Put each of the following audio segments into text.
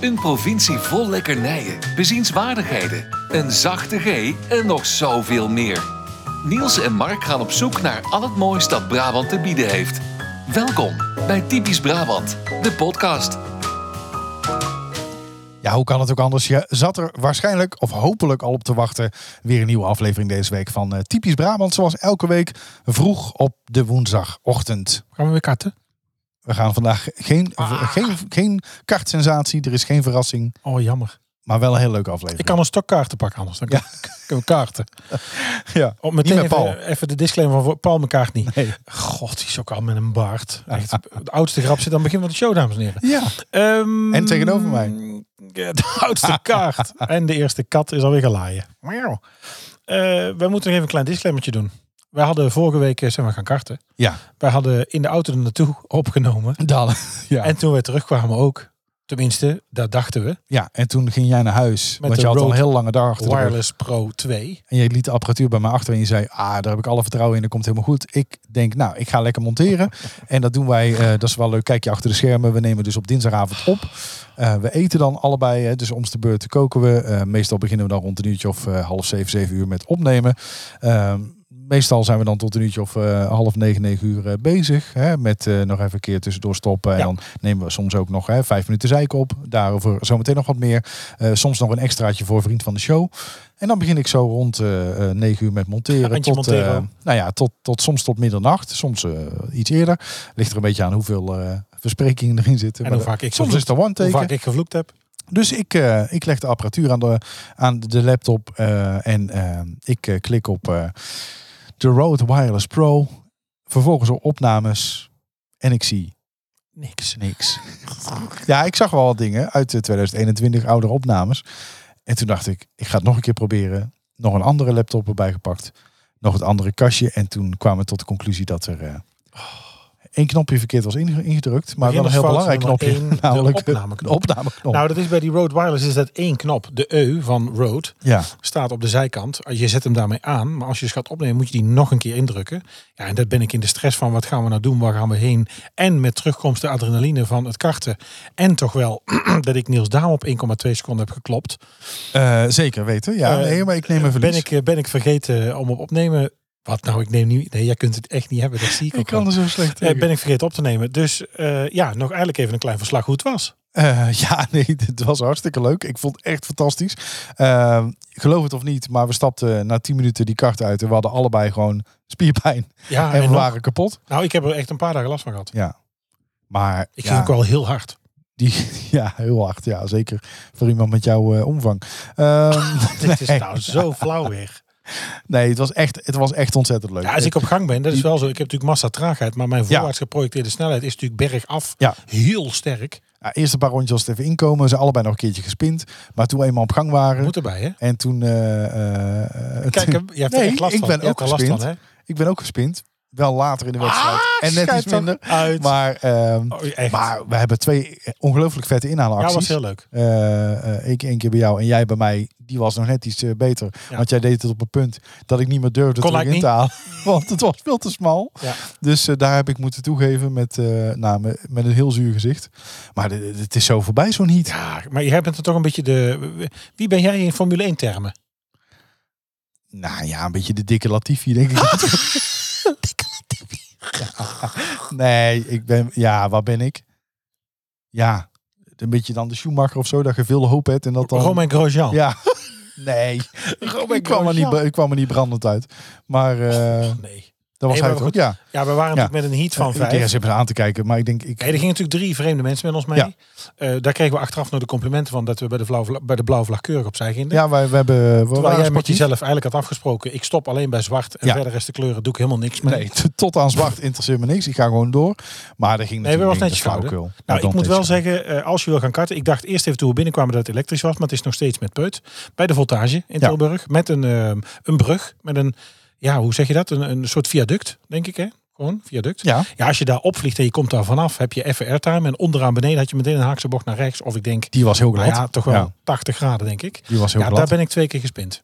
Een provincie vol lekkernijen, bezienswaardigheden, een zachte G en nog zoveel meer. Niels en Mark gaan op zoek naar al het moois dat Brabant te bieden heeft. Welkom bij Typisch Brabant, de podcast. Ja, hoe kan het ook anders? Je zat er waarschijnlijk of hopelijk al op te wachten. Weer een nieuwe aflevering deze week van eh, Typisch Brabant. Zoals elke week vroeg op de woensdagochtend. Gaan we weer Ah. katten? We gaan vandaag geen, v- geen, geen kaartsensatie. Er is geen verrassing. Oh, jammer. Maar wel een hele leuke aflevering. Ik kan een stok kaarten pakken anders. Dan Ja. kunnen we kaarten. ja. Om meteen Niet met Paul. Even, eh, even de disclaimer van voor- Paul mijn kaart niet. Nee. God, die is ook al met een baard. Echt, de oudste grap zit aan het begin van de show, dames en heren. ja. Ehm, En tegenover mij. ja, De oudste kaart. En de eerste kat is alweer gelaaien. Miauw. Eh, wij moeten nog even een klein disclaimertje doen. Wij hadden vorige week, eh, zijn we gaan karten. Ja. Wij hadden in de auto er naartoe opgenomen. Dan. Ja. En, En toen we terugkwamen ook. Tenminste, dat dachten we. ja. en toen ging jij naar huis. Met want de je had al een Rode heel lange dag achter de rug. Wireless Pro 2. En je liet de apparatuur bij mij achter en je zei, ah, daar heb ik alle vertrouwen in, dat komt helemaal goed. Ik denk, nou, ik ga lekker monteren. En dat doen wij, eh, dat is wel leuk, kijk je achter de schermen. We nemen dus op dinsdagavond op. Eh, we eten dan allebei, hè, dus om de beurt koken we. Eh, meestal beginnen we dan rond een uurtje of eh, half zeven, zeven uur met opnemen. Ehm, meestal zijn we dan tot een uurtje of eh, half negen, negen uur eh, bezig. Hè, met eh, nog even een keer tussendoor stoppen. En Ja. dan nemen we soms ook nog hè, vijf minuten zeik op. Daarover zometeen nog wat meer. Eh, soms nog een extraatje voor vriend van de show. En dan begin ik zo rond eh eh, 9 uur met monteren. Eindje tot, monteren. eh, nou ja, tot, tot soms tot middernacht, soms eh, iets eerder. Ligt er een beetje aan hoeveel eh, versprekingen erin zitten. En Maar hoe vaak ik soms is het een one Hoe teken. vaak ik gevloekt heb. Dus ik, eh, ik leg de apparatuur aan de, aan de laptop eh, en eh, ik eh, klik op eh, de Rode Wireless Pro. Vervolgens op opnames en ik zie Niks. niks. ja, ik zag wel wat dingen uit de 2021 oudere opnames. En toen dacht ik, ik ga het nog een keer proberen. Nog een andere laptop erbij gepakt. Nog het andere kastje. En toen kwamen we tot de conclusie dat er eh, Oh. één knopje verkeerd was inge- ingedrukt. Maar wel een heel belangrijk knopje. namelijk namelijk de de opnameknop. opnameknop. Nou, dat is bij die Rode Wireless is dat één knop. De E van Rode ja. staat op de zijkant. Ah, Je zet hem daarmee aan, maar als je ze gaat opnemen moet je die nog een keer indrukken. Ja, en dat ben ik in de stress van wat gaan we nou doen, waar gaan we heen? En met terugkomst de adrenaline van het karten. En toch wel dat ik Niels Daam op 1,2 seconden heb geklopt. Eh, zeker weten. Ja, Eh, nee, maar ik neem een verlies. Ben ik, eh, ben ik vergeten om op opnemen? Wat nou, ik neem niet. Nee, jij kunt het echt niet hebben, dat zie ik, Ik ook wel. kan er zo slecht Eh, tegen. ben ik vergeten op te nemen. Dus eh, ja, nog eigenlijk even een klein verslag hoe het was. Eh, ja, nee, het was hartstikke leuk. Ik vond het echt fantastisch. Eh, geloof het of niet, maar we stapten na 10 minuten die kart uit en we hadden allebei gewoon spierpijn. Ja, en we Ah, nog- waren kapot. nou, ik heb er echt een paar dagen last van gehad. Ja. Maar Ik ja, ging ook wel heel hard. die, ja, heel hard. Ja, zeker voor iemand met jouw eh, omvang. Ehm, Dit is nou zo flauw weer. nee, het was, echt, het was echt ontzettend leuk. Ja, als ik op gang ben, dat is wel zo. Ik heb natuurlijk massa traagheid, maar mijn Ja. voorwaarts geprojecteerde snelheid is natuurlijk bergaf Ja. heel sterk. Ja, eerst een paar rondjes was het even inkomen. Ze zijn allebei nog een keertje gespind. Maar toen we eenmaal op gang waren... Moet erbij, hè? En toen... eh, eh, eh, Kijk, hè, je hebt er Nee, echt last ik van. ben Je hebt ook er last van, gespind. hè? Ah, Ik ben ook gespind. Wel later in de wedstrijd. en net schijt iets toch minder. Uit. Maar, ehm, Oh, echt. maar we hebben twee ongelooflijk vette ja, was inhaalacties. heel leuk. Eh, eh, ik één keer bij jou en jij bij mij. Die was nog net iets eh, beter. Ja. Want jij deed het op een punt dat ik niet meer durfde Kon terug in ik te halen. Want het was veel te smal. Ja. Dus eh, daar heb ik moeten toegeven met, eh, nou, met, met een heel zuur gezicht. Maar dit- dit- het is zo voorbij zo'n heat. Ja, maar jij bent er toch een beetje de... Wie ben jij in Formule 1 termen? Nou ja, een beetje de dikke Latifi denk ik. Nee, ik ben, ja, wat ben ik? Ja, een beetje dan de Schumacher of zo. Dat je veel hoop hebt en dat dan... Romain Grosjean. Ja. Nee. ik, kwam er niet, Grosjean. ik kwam er niet brandend uit. Maar eh, Nee. dat was hij Nee, maar toch? goed, Ja. Ja, we waren Ja. natuurlijk met een heat van ik vijf. heb aan te kijken, maar ik denk... Ik, Nee, er gingen natuurlijk drie vreemde mensen met ons mee. Ja. Eh, daar kregen we achteraf nog de complimenten van dat we bij de, blauwe vla- bij de blauwe vlag keurig opzij gingen. ja, wij, we hebben... We Terwijl waren jij met sportief. jezelf eigenlijk had afgesproken, ik stop alleen bij zwart en Ja. verder is de kleuren doe ik helemaal niks mee. Nee, t- tot aan zwart interesseert me niks. Ik ga gewoon door. Maar er ging Nee, natuurlijk we was een netjes flauwekul. Nou, ik don't moet wel touch it. zeggen, eh, als je wil gaan karten, ik dacht eerst even toen we binnenkwamen dat het elektrisch was, maar het is nog steeds met peut. Bij de voltage in Ja. Tilburg, met een, ehm, een brug, met een, ja, hoe zeg je dat? Een, een soort viaduct, denk ik hè? Gewoon, viaduct. Ja, Ja, als je daar opvliegt en je komt daar vanaf, heb je even airtime. En onderaan beneden had je meteen een haakse bocht naar rechts. Of ik denk, die was heel glad. nou ja, toch wel Ja, 80 graden, denk ik. die was heel Ja, glad. daar ben ik twee keer gespind.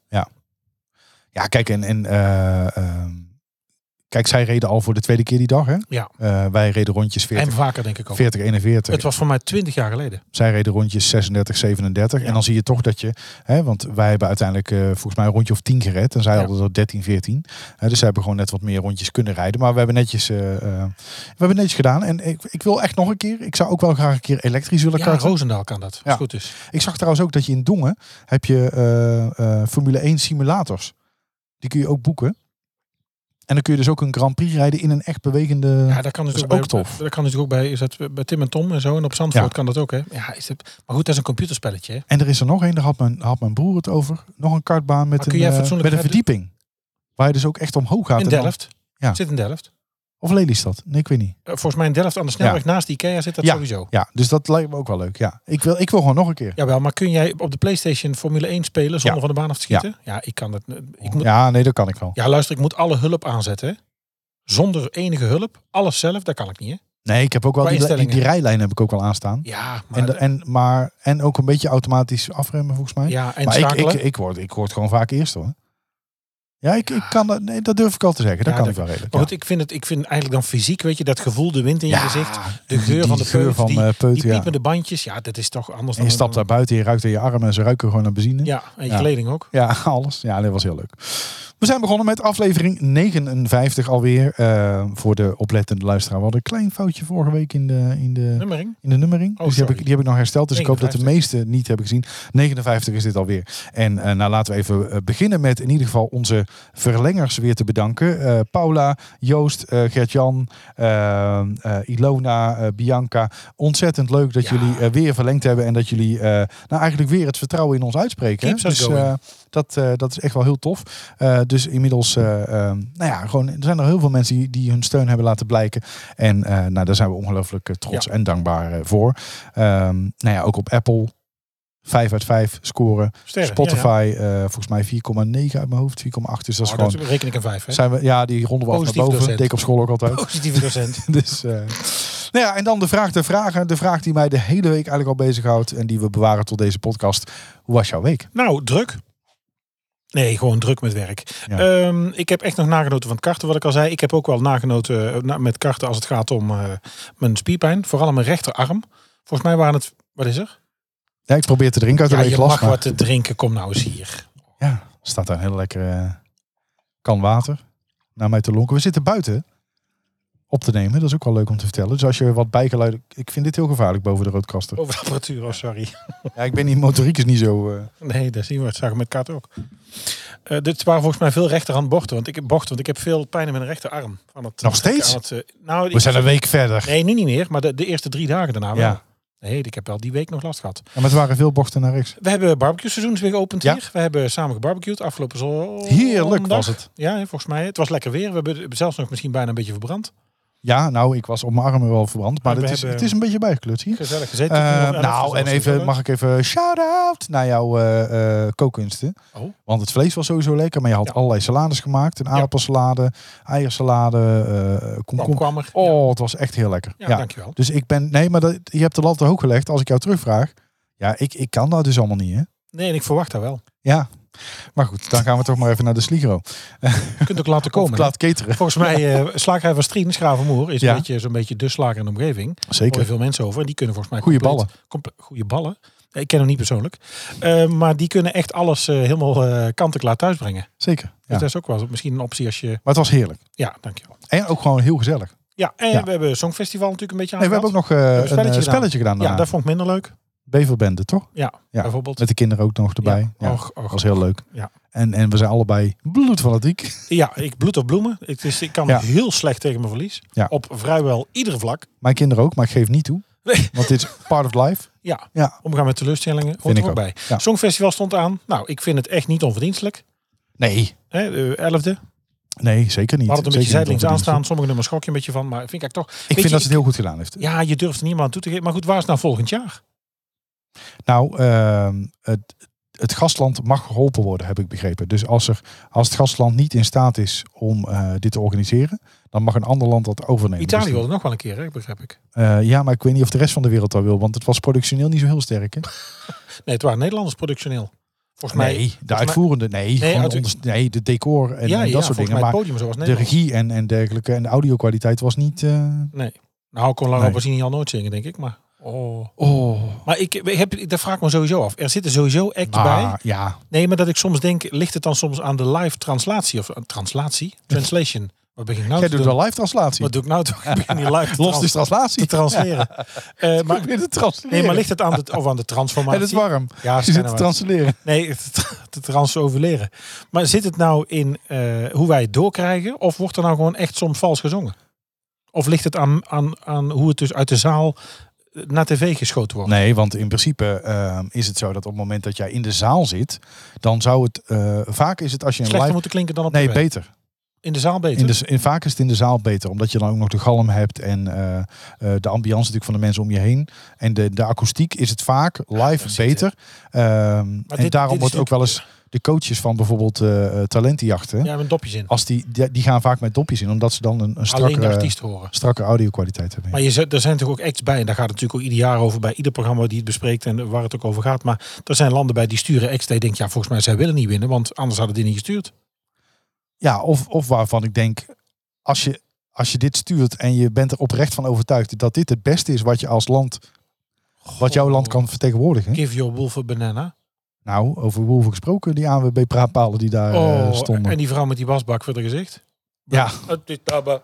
Ja, kijk, en, en eh, ehm, Kijk, zij reden al voor de tweede keer die dag. Hè? Ja. Eh, wij reden rondjes 40, En vaker denk ik ook. 40 41. Het was voor mij 20 jaar geleden. Zij reden rondjes 36, 37. En dan zie je toch dat je, hè, want wij hebben uiteindelijk eh, volgens mij een rondje of 10 gered. En zij Ja. hadden er 13, 14. Hè, dus zij hebben gewoon net wat meer rondjes kunnen rijden. Maar we hebben netjes, eh, eh, we hebben netjes gedaan. En ik, ik wil echt nog een keer, ik zou ook wel graag een keer elektrisch willen Ja, karten. Roosendaal kan dat. Als Ja. het goed is. Ik zag trouwens ook dat je in Dongen heb je eh, eh, Formule 1 simulators. Die kun je ook boeken. En dan kun je dus ook een Grand Prix rijden in een echt bewegende... Ja, dat kan is natuurlijk ook bij, tof. Dat kan natuurlijk ook bij, is dat bij Tim en Tom en zo. En op Zandvoort Ja. kan dat ook, hè? Ja, is het, maar goed, dat is een computerspelletje. Hè? En er is er nog één, daar had mijn, had mijn broer het over. Nog een kartbaan met, Maar kun een, jij eh, fatsoenlijk met een rijden? verdieping. Waar je dus ook echt omhoog gaat. In en dan- Delft. Ja. Zit in Delft. of Lelystad. Nee, ik weet niet. Eh, Volgens mij in Delft aan de snelweg naast de Ikea zit dat Ja. sowieso. Ja, dus dat lijkt me ook wel leuk. Ja, ik wil, ik wil gewoon nog een keer. Jawel, maar kun jij op de PlayStation Formule 1 spelen zonder van de baan af te Ja. schieten? Ja, ik kan dat. eh, Ik moet, ja. Ja, nee, dat kan ik wel. luister, ik moet alle hulp aanzetten. hè. Zonder enige hulp, alles zelf, dat kan ik niet. Hè? Nee, ik heb ook wel Qua die, die, instellingen. die rijlijn heb ik ook wel aanstaan. Ja, maar, En, de- en, maar, en ook een beetje automatisch afremmen volgens mij. eh, ja, en maar ik, schakelen. ik, ik, word, ik word gewoon vaak eerst hoor. Ja, ik, ik kan dat, nee, dat durf ik al te zeggen. Dat Ja, kan dat- ik wel redelijk. maar ja. goed, ik vind, het, ik vind eigenlijk dan fysiek, weet je, dat gevoel, de wind in je Ja, gezicht. De die- geur die van de geur peut, van die- eh, Die peuten, ja. piepende bandjes, ja, dat is toch anders En dan... je stapt daar buiten, je ruikt aan je armen en ze ruiken gewoon naar benzine. Ja, en je Ja. kleding ook. Ja, alles. Ja, dat was heel leuk. We zijn begonnen met aflevering 59 alweer. Eh, voor de oplettende luisteraar. We hadden een klein foutje vorige week in de, in de, Nummering. in de nummering. Oh, dus die heb, sorry. ik, die heb ik nog hersteld. Dus ik hoop dat de meeste niet hebben gezien. 59 is dit alweer. En eh, nou laten we even eh, beginnen met in ieder geval onze verlengers weer te bedanken. Eh, Paula, Joost, eh, Gert-Jan, eh, eh, Ilona, eh, Bianca. Ontzettend leuk dat Ja. jullie eh, weer verlengd hebben. En dat jullie eh, nou eigenlijk weer het vertrouwen in ons uitspreken. hè? Keeps us Dus going. eh, dat, eh, dat is echt wel heel tof. Eh, dus inmiddels, eh, eh, nou ja, gewoon, er zijn er heel veel mensen die, die hun steun hebben laten blijken. En eh, nou, daar zijn we ongelooflijk eh, trots en dankbaar eh, voor. Ehm, nou ja, ook op Apple. 5 uit 5 scoren. Sterren, ja, Spotify, eh, volgens mij 4,9 uit mijn hoofd, 4,8. Dus dat ja. is Oh, gewoon. dat reken ik een vijf, hè? zijn we, ja, die ronden we af naar Positief boven. docent. Oh. Deed ik op school ook altijd. Positieve docent. Dus, eh, nou ja, en dan de vraag der vragen. De vraag die mij de hele week eigenlijk al bezighoudt. En die we bewaren tot deze podcast. Hoe was jouw week? Nou, druk. Nee, gewoon druk met werk. Ja. Ehm, ik heb echt nog nagenoten van het karten, wat ik al zei. Ik heb ook wel nagenoten eh, na- met karten als het gaat om eh, mijn spierpijn. Vooral aan mijn rechterarm. Volgens mij waren het... Wat is er? Ja, ik probeer te drinken uit een Ja, leeg je glas. mag maar- wat te drinken. Kom nou eens hier. Ja, er staat daar een hele lekkere eh, kan water naar mij te lonken. We zitten buiten op te nemen. Dat is ook wel leuk om te vertellen. Dus als je wat bijgeluiden... Ik vind dit heel gevaarlijk boven de roodkasten. Over de apparatuur, oh sorry. Ja, ik ben die motoriek is niet zo... eh, Nee, dat zien we. Dat zagen we met kaart ook. Eh, dit waren volgens mij veel rechterhand bochten. Want ik heb bochten, want ik heb veel pijn in mijn rechterarm. Van het, Nog steeds? aan het, eh, nou, We ik- zijn een week verder. Nee, nu niet meer. Maar de, de eerste drie dagen daarna wel. Ja. Nee, ik heb wel die week nog last gehad. Ja, maar het waren veel bochten naar rechts. We hebben barbecue seizoens weer geopend Ja. hier. We hebben samen gebarbecued afgelopen zondag. Heerlijk was het. Ja, volgens mij. Het was lekker weer. We hebben zelfs nog misschien bijna een beetje verbrand. Ja, nou, ik was op mijn armen wel verbrand. Maar Maar we het is, hebben- het is een beetje bijgekleurd hier. Gezellig gezeten. Eh, Tot nu op elf, nou, dus en dat was even, leuk. mag ik even shout-out naar jouw eh eh kookkunsten. Oh. Want het vlees was sowieso lekker, maar je had Ja. allerlei salades gemaakt. Een aardappelsalade, eiersalade, eh komkommer. Komkommer. Oh, het was echt heel lekker. Ja, Ja. dankjewel. Dus ik ben, nee, maar dat, je hebt de lat hoog gelegd. Als ik jou terugvraag, ja, ik, ik kan dat dus allemaal niet, hè? Nee, en ik verwacht dat wel. Ja. Maar goed, dan gaan we toch maar even naar de Sligro. Je kunt ook laten Of komen. hè? laat keteren. Volgens mij, eh slagerij van Strien, Schravenmoer, is Ja. een beetje zo'n beetje de slager in de omgeving. Daar horen Zeker. veel mensen over. En die kunnen volgens mij... Goeie compleet- comple- Goeie ballen. Nee, Ik ken hem niet persoonlijk. Eh, maar die kunnen echt alles eh, helemaal eh kant-en-klaar thuisbrengen. Zeker. Dus Ja. dat is ook wel misschien een optie als je... Maar het was heerlijk. Ja, dankjewel. En ook gewoon heel gezellig. Nee, Ja, en Ja. we hebben Songfestival natuurlijk een beetje we hebben ook nog eh, een eh, spelletje spelletje, gedaan. gedaan. Ja, Ja, dat vond ik minder leuk. Beverbende, toch? Ja, Ja. bijvoorbeeld. Met de kinderen ook nog erbij. Ja, Ja, och, och, dat was heel leuk. Ja. En, en we zijn allebei bloedfanatiek. ja, ik bloed of bloemen. Ik, dus, ik kan Ja. heel slecht tegen mijn verlies. Ja. Op vrijwel ieder vlak. Mijn kinderen ook, maar ik geef niet toe. Nee. Want dit is part of life. Ja, Ja. omgaan met teleurstellingen Vind hoort ik er ook ook. bij. Ja. Songfestival stond aan. Nou, ik vind het echt niet onverdienstelijk. Nee, Hè, de elfde. We nee, zeker niet. hadden het een Zeker beetje niet zijdelings onverdienst. aanstaan. Sommige nummers schok je een beetje van. Maar vind ik eigenlijk toch... Ik Weet vind dat je, ze het heel goed gedaan heeft. Ja, je durft er niemand aan toe te geven. Maar goed, waar is het nou volgend jaar? Nou, ehm, het, het gastland mag geholpen worden, heb ik begrepen. Dus als, er, als het gastland niet in staat is om eh, dit te organiseren, dan mag een ander land dat overnemen. Italië Dus, wilde nog wel een keer, hè, begrijp ik. eh, ja, maar ik weet niet of de rest van de wereld dat wil, want het was productioneel niet zo heel sterk. Hè? Nee, het waren Nederlanders productioneel. Volgens mij. Nee, de uitvoerende. Nee, Nee, gewoon uit- onder- nee de decor en, ja, en dat ja, soort volgens dingen. mij het Maar podium zoals de Nederland. regie en, en dergelijke en de audio-kwaliteit was niet. eh, Nee. Nou, ik kon Laura Nee. Pausini al nooit zingen, denk ik. Maar, oh. oh, maar ik, ik heb, ik- dat vraag ik me sowieso af. Er zitten sowieso acts bij. ah, ja. Nee, maar dat ik soms denk, ligt het dan soms aan de live translatie of eh, translatie? Translation. Wat begin ik nou Jij te doet doen? wel live translatie. Wat doe ik nou toch? Ik begin die live te, Los trans- de translatie. te transleren. Eh, maar, Probeer te transleren. nee, maar ligt het aan de, of aan de transformatie? het is warm. Ja, Je zit te schijnbaar. transleren. Nee, het tra- te transoverleren. Maar zit het nou in eh, hoe wij het doorkrijgen? Of wordt er nou gewoon echt soms vals gezongen? Of ligt het aan, aan, aan hoe het dus uit de zaal eh, naar tv geschoten wordt? Nee, want in principe ehm, is het zo dat op het moment dat jij in de zaal zit, dan zou het eh, vaak is het als je een Slechter live moeten klinken dan op Nee, tv. beter. In de zaal beter. In de, in, vaak is het in de zaal beter, omdat je dan ook nog de galm hebt en eh, eh, de ambiance natuurlijk van de mensen om je heen. En de, de akoestiek is het vaak live precies, beter. Ehm, en dit- daarom dit wordt is ook wel eens de coaches van bijvoorbeeld eh eh, talentenjachten, Ja, met dopjes in. als die, die, die gaan vaak met dopjes in, omdat ze dan een, een Alleen de strakke, artiest horen. strakke audio-kwaliteit hebben. Maar je, zet- er zijn toch ook acts bij. En daar gaat het natuurlijk ook ieder jaar over bij ieder programma die het bespreekt en waar het ook over gaat. Maar er zijn landen bij die sturen acts. Die denken, ja, volgens mij zij willen niet winnen, want anders hadden die niet gestuurd. Ja, of, of waarvan ik denk, als je, als je dit stuurt en je bent er oprecht van overtuigd dat dit het beste is wat je als land, wat jouw Oh. land kan vertegenwoordigen. Give your wolf a banana. Nou, over wolven gesproken, die ANWB-praatpalen die daar eh, oh, stonden. en die vrouw met die wasbak voor haar gezicht. Ja, Uit die tabba.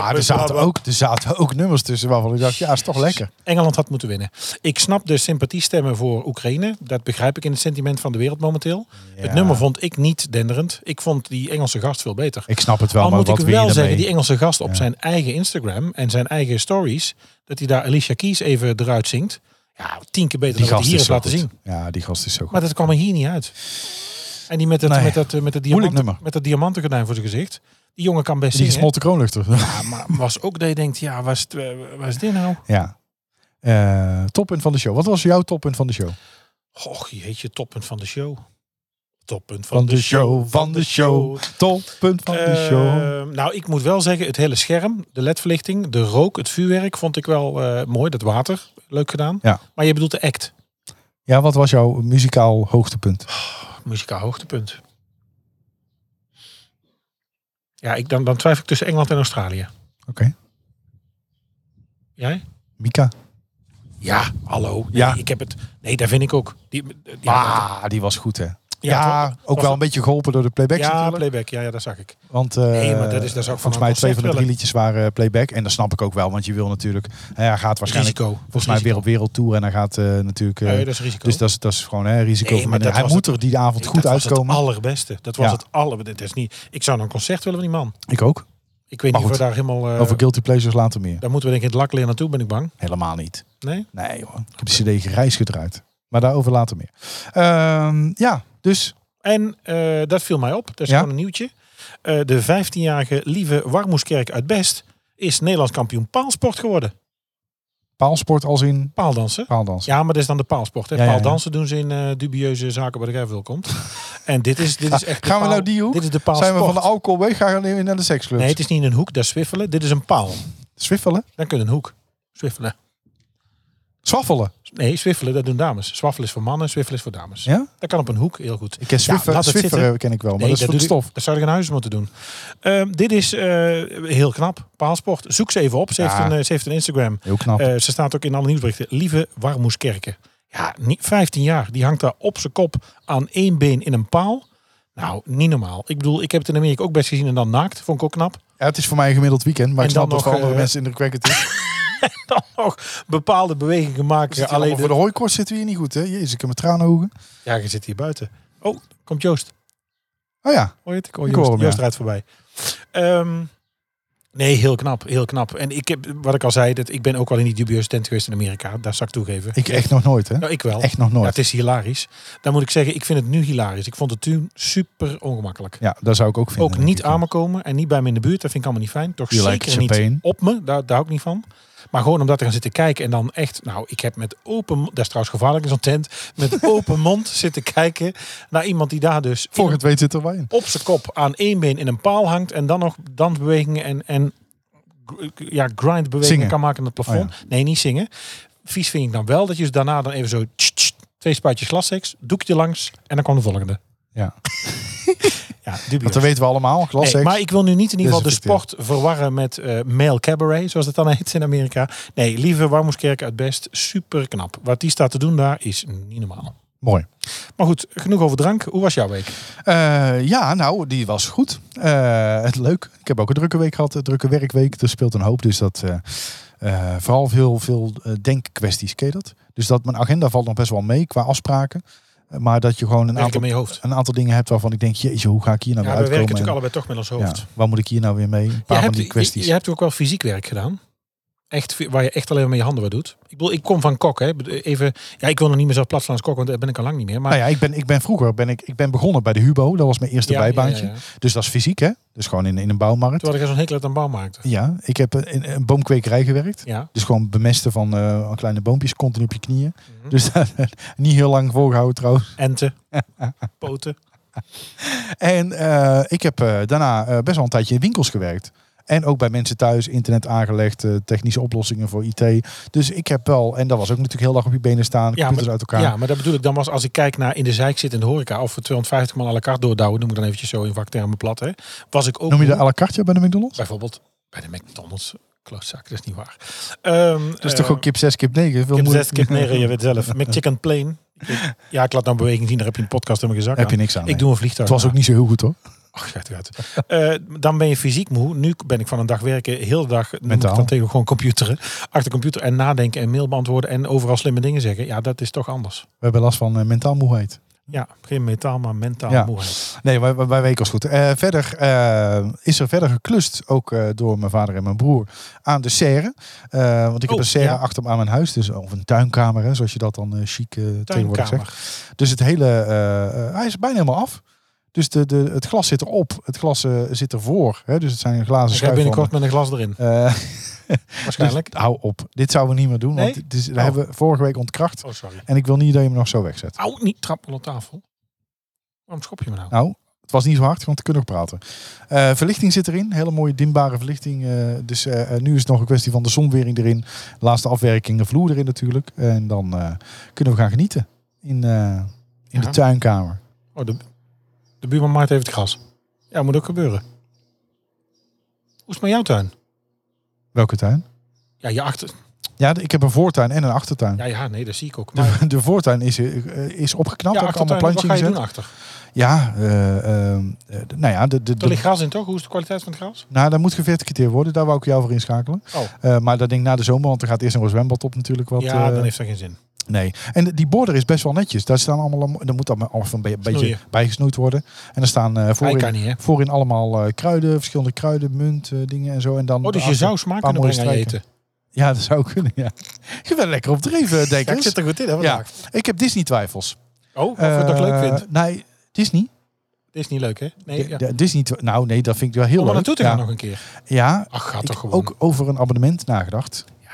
maar er zaten, ook, er zaten ook nummers tussen waarvan ik dacht, ja, is toch lekker. Engeland had moeten winnen. Ik snap de sympathiestemmen voor Oekraïne. Dat begrijp ik in het sentiment van de wereld momenteel. Het nummer vond ik niet denderend. Ik vond die Engelse gast veel beter. Ik snap het wel, Al maar moet ik wat wil je wel zeggen, daarmee? die Engelse gast op Ja. zijn eigen Instagram en zijn eigen stories, dat hij daar Alicia Keys even eruit zingt. Ja, tien keer beter dan wat hij hier heeft zo laten goed. zien. Ja, die gast is zo goed. Maar dat kwam er hier niet uit. En die met dat, Nee. met dat, eh, met Moeilijk dat, diamanten, nummer. met dat diamantengordijn voor zijn gezicht. Die jongen kan best die zingen. gesmolten kroonluchter. Ja, maar was ook dat je denkt, ja, was, het, eh, was dit nou? ja. Eh, toppunt van de show. Wat was jouw toppunt van de show? Och, jeetje, toppunt van de show. Toppunt van, Van de show, van de show. Toppunt van de show. Ehm, nou, ik moet wel zeggen, het hele scherm, de ledverlichting, de rook, het vuurwerk vond ik wel eh, mooi. Dat water, leuk gedaan. Ja. Maar je bedoelt de act, Ja, wat was jouw muzikaal hoogtepunt? muzikaal hoogtepunt. Ja, ik, dan, dan twijfel ik tussen Engeland en Australië. Oké. Jij? Mika? Ja, hallo. Nee, Ja. Ik heb het. Nee, daar vind ik ook. Die, die- Ah, die was goed hè. Ja, het was- ook was- wel een beetje geholpen door de playback Ja, natuurlijk. playback. Ja, ja, dat zag ik. Want eh, Nee, maar dat is- dat is ook van volgens een mij twee van de concept drie willen. liedjes waren eh, playback. En dat snap ik ook wel, want je wil natuurlijk... Hij gaat waarschijnlijk Risico. volgens mij weer op wereldtour. En hij gaat eh, natuurlijk... eh, Nee, dat is risico. dus dat is, dat is gewoon hè, risico. Nee, maar verminderen. dat hij was moet er die avond goed dat uitkomen. Was het allerbeste. Dat was Ja. het aller. Dat is niet. Ik zou naar een concert willen van die man. Ik ook. Ik weet Maar niet of we goed. daar helemaal. eh, Over Guilty Pleasures later meer. daar moeten we denk ik in het lak leren naartoe. Ben ik bang. Helemaal niet. Nee. Nee hoor. Ik heb de cd gereis gedraaid. Maar daarover later meer. Ehm, ja, dus... En eh, dat viel mij op. Dat is Ja? gewoon een nieuwtje. Eh, de 15-jarige Lieve Warmoeskerk uit Best is Nederlands kampioen paalsport geworden. Paalsport als in Paaldansen. paaldans. Ja, maar dat is dan de paalsport. Hè? Ja, ja, ja. Paaldansen doen ze in eh, dubieuze zaken waar de gevel komt. en dit is, dit is echt. de Gaan we paal- nou die hoek? Dit is de Zijn we van de paalsport. alcohol weg? Gaan we nu naar de seksclubs? Nee, het is niet een hoek, dat is swiffelen. Dit is een paal. Swiffelen? Dan kun je een hoek. Swiffelen. Swaffelen? Nee, swiffelen, dat doen dames. Swaffelen is voor mannen, swiffelen is voor dames. Ja? Dat kan op een hoek heel goed. Ik ken Swiffer, laat het zitten. ken ik wel, maar Nee, dat is voor de doe- stof. Dat zou ik in huis moeten doen. Ehm, dit is eh, heel knap. Paalsport. Zoek ze even op. Ze, Ja. heeft, een, eh, ze heeft een Instagram. Heel knap. Eh, ze staat ook in alle nieuwsberichten. Lieve Warmoeskerken. Ja, niet, 15 jaar. Die hangt daar op zijn kop aan één been in een paal. Nou, niet normaal. Ik bedoel, ik heb het in Amerika ook best gezien en dan naakt. Vond ik ook knap. Ja, het is voor mij een gemiddeld weekend, maar En ik snap dan dat voor nog, andere eh, mensen indrukwekkend is. Dan nog bepaalde bewegingen maken. Zit hier allemaal alleen Voor de hooikort zitten we hier niet goed, hè? Jezus, ik heb mijn tranenhoegen. Ja, je zit hier buiten. Oh, komt Joost. Oh ja, Hoor je het? Ik hoor Ik Joost, hoor hem, ja. Joost rijdt voorbij. Ehm, nee, heel knap. Heel knap. En ik heb, wat ik al zei, dat ik ben ook wel in die dubieuze tent geweest in Amerika. Daar zou ik toegeven. ik echt nog nooit, hè? nou, ik wel. Echt nog Ja, nooit. het is hilarisch. Dan moet ik zeggen, ik vind het nu hilarisch. Ik vond het toen super ongemakkelijk. Ja, daar zou ik ook vinden. Ook niet aan aan. me komen en niet bij me in de buurt. Dat vind ik allemaal niet fijn. Toch You like zeker niet champagne. op me. Daar, daar hou ik niet van. Maar gewoon om daar te gaan zitten kijken en dan echt... Nou, ik heb met open... mo- Dat is trouwens gevaarlijk in zo'n tent. Met open mond zitten kijken naar iemand die daar dus... Voor het weet zit er wijn. op zijn kop aan één been in een paal hangt en dan nog dansbewegingen en, en gr- ja, grindbewegingen Zingen. Oh, kan maken in het plafond. Nee, niet zingen. Vies vind ik dan wel dat je dus daarna dan even zo tst, tst, Twee spuitjes Classics, doekje langs en dan kwam de volgende. Ja. Ja, Want dubieus. dat weten we allemaal. Glas Nee, maar ik wil nu niet in ieder geval de Desinfecteer. sport verwarren met eh male cabaret, zoals dat dan heet in Amerika. Nee, lieve Warmoeskerk uit Best, super knap. Wat die staat te doen daar is niet normaal. Mooi. Maar goed, genoeg over drank. Hoe was jouw week? Eh, ja, nou, die was goed. Eh, het leuk. Ik heb ook een drukke week gehad, een drukke werkweek. Er speelt een hoop, dus dat... eh, eh, vooral veel, veel eh, denkkwesties, ken je dat? Dus dat mijn agenda valt nog best wel mee qua afspraken. Eh, Maar dat je gewoon een Werk aantal, in je hoofd. een aantal dingen hebt waarvan ik denk... Jeetje, hoe ga ik hier nou Ja, we weer werken uitkomen? natuurlijk En- allebei toch met ons hoofd. ja, waar moet ik hier nou weer mee? Een paar je, van hebt, die kwesties. Je, je hebt ook wel fysiek werk gedaan. Echt, vi- waar je echt alleen maar met je handen wat doet. Ik bedoel, ik kom van kok. Hè. Even, ja, ik wil nog niet meer zelf platslaans kok, want daar ben ik al lang niet meer. Maar Nou ja, ik ben, ik ben vroeger ben ik, ik ben begonnen bij de Hubo. Dat was mijn eerste Ja, bijbaantje. ja, ja, ja. Dus dat is fysiek, hè? Dus gewoon in, in een bouwmarkt. Terwijl ik zo'n hekel uit aan bouw maakte. Ja, ik heb in een boomkwekerij gewerkt. Ja. Dus gewoon bemesten van eh, kleine boompjes, continu op je knieën. Mhm. Dus dat- niet heel lang volgehouden trouwens. Enten. Poten. En eh, ik heb eh, daarna eh, best wel een tijdje in winkels gewerkt. En ook bij mensen thuis, internet aangelegd, eh, technische oplossingen voor IT. Dus ik heb wel, en dat was ook natuurlijk heel dag op je benen staan, computers uit elkaar. Ja, maar dat bedoel ik dan was als ik kijk naar in de zijk zit in de horeca of we 250 man à la carte doordouwen, noem ik dan eventjes zo in vaktermen plat, hè. Was ik ook Noem je de moe. à la carte bij de McDonald's? bijvoorbeeld bij de McDonald's klootzak, dat is niet waar. Ehm Dat is toch ook kip 6, kip 9? Veel Ik heb moeilijker. zes keer negen, je weet zelf. McChicken plane. Ik- Ja, ik laat nou beweging zien, daar heb je een podcast in mijn gezak Heb je aan. niks aan. nee. Ik doe een vliegtuig. Het was ook niet zo heel goed hoor. Ach, gaat eruit. Eh, dan ben je fysiek moe. Nu ben ik van een dag werken, heel de dag, noem ik Mentaal. dan tegen gewoon computeren. Achter de computer en nadenken en mail beantwoorden en overal slimme dingen zeggen. Ja, dat is toch anders. We hebben last van eh, mentaal moeheid. Ja, geen metaal, maar mentaal Ja. moeheid. Nee, wij, wij- wij weken was goed. Eh, verder eh, is er verder geklust, ook eh, door mijn vader en mijn broer, aan de serre. Eh, want ik Oh, heb een serre ja. achter me aan mijn huis, dus, of een tuinkamer, hè, zoals je dat dan eh chic eh, tegenwoordig zegt. Tuinkamer. Dus het hele, eh, eh, hij is bijna helemaal af. Dus de, de, het glas zit erop, het glas eh, zit ervoor. Hè, dus het zijn glazen Ik ga schuiven. binnenkort met een glas erin, Eh, waarschijnlijk. dus hou op, dit zouden we niet meer doen, Nee? want dit is, dat Oh. hebben we vorige week ontkracht. Oh, sorry. En ik wil niet dat je me nog zo wegzet. Au, niet trappen op tafel. Waarom schop je me nou? Nou, het was niet zo hard, want we kunnen nog praten. Eh, verlichting zit erin, hele mooie dimbare verlichting. eh, dus eh, eh, nu is het nog een kwestie van de zonwering erin. Laatste afwerking, de vloer erin natuurlijk. En dan eh, kunnen we gaan genieten in, eh, in de Ja. tuinkamer. Oh, de, de buurman maait even het gras. Ja, moet ook gebeuren. Hoe is het met jouw tuin? Welke tuin? Ja, je achter... Ja, de- ik heb een voortuin en een achtertuin. Ja, ja, nee, dat zie ik ook. Maar, De, de voortuin is, eh, is opgeknapt, ja, heb ik allemaal achtertuin, wat plantjes ga je gezet. doen achter? Ja, eh, ehm, eh, d- nou ja, de, de, Er de, ligt gras in, toch? Hoe is de kwaliteit van het gras? nou, daar moet geverticuteerd worden, daar wou ik jou voor inschakelen. Oh. Eh, maar dat denk ik na de zomer, want er gaat eerst nog een zwembad op natuurlijk. Wat, ja, eh, dan heeft dat geen zin. Nee. En die border is best wel netjes. Daar staan allemaal, dan moet dat maar allemaal een be- beetje Snoeien. bijgesnoeid worden. En daar staan eh, Hij voorin, kan niet, hè? voorin allemaal eh, kruiden, verschillende kruiden, munt, eh, dingen en zo. En dan Oh, dus je daarachter- zou smaak paar kunnen mooie brengen aan je eten. strijken. Ja, dat zou kunnen, ja. Je bent lekker op dreven, Ja, ik Dekers. zit er goed in, hè, Ja, vandaag. ik heb Disney-twijfels. Oh, of je het toch Eh, leuk vindt. Nee, Disney? Dit is niet leuk, hè? Nee, ja. Ja, Disney twi- nou nee, dat vind ik wel heel Om leuk. er naartoe te ja, gaan nog een keer. ja Ach, gaat ik toch gewoon. ook over een abonnement nagedacht. Ja,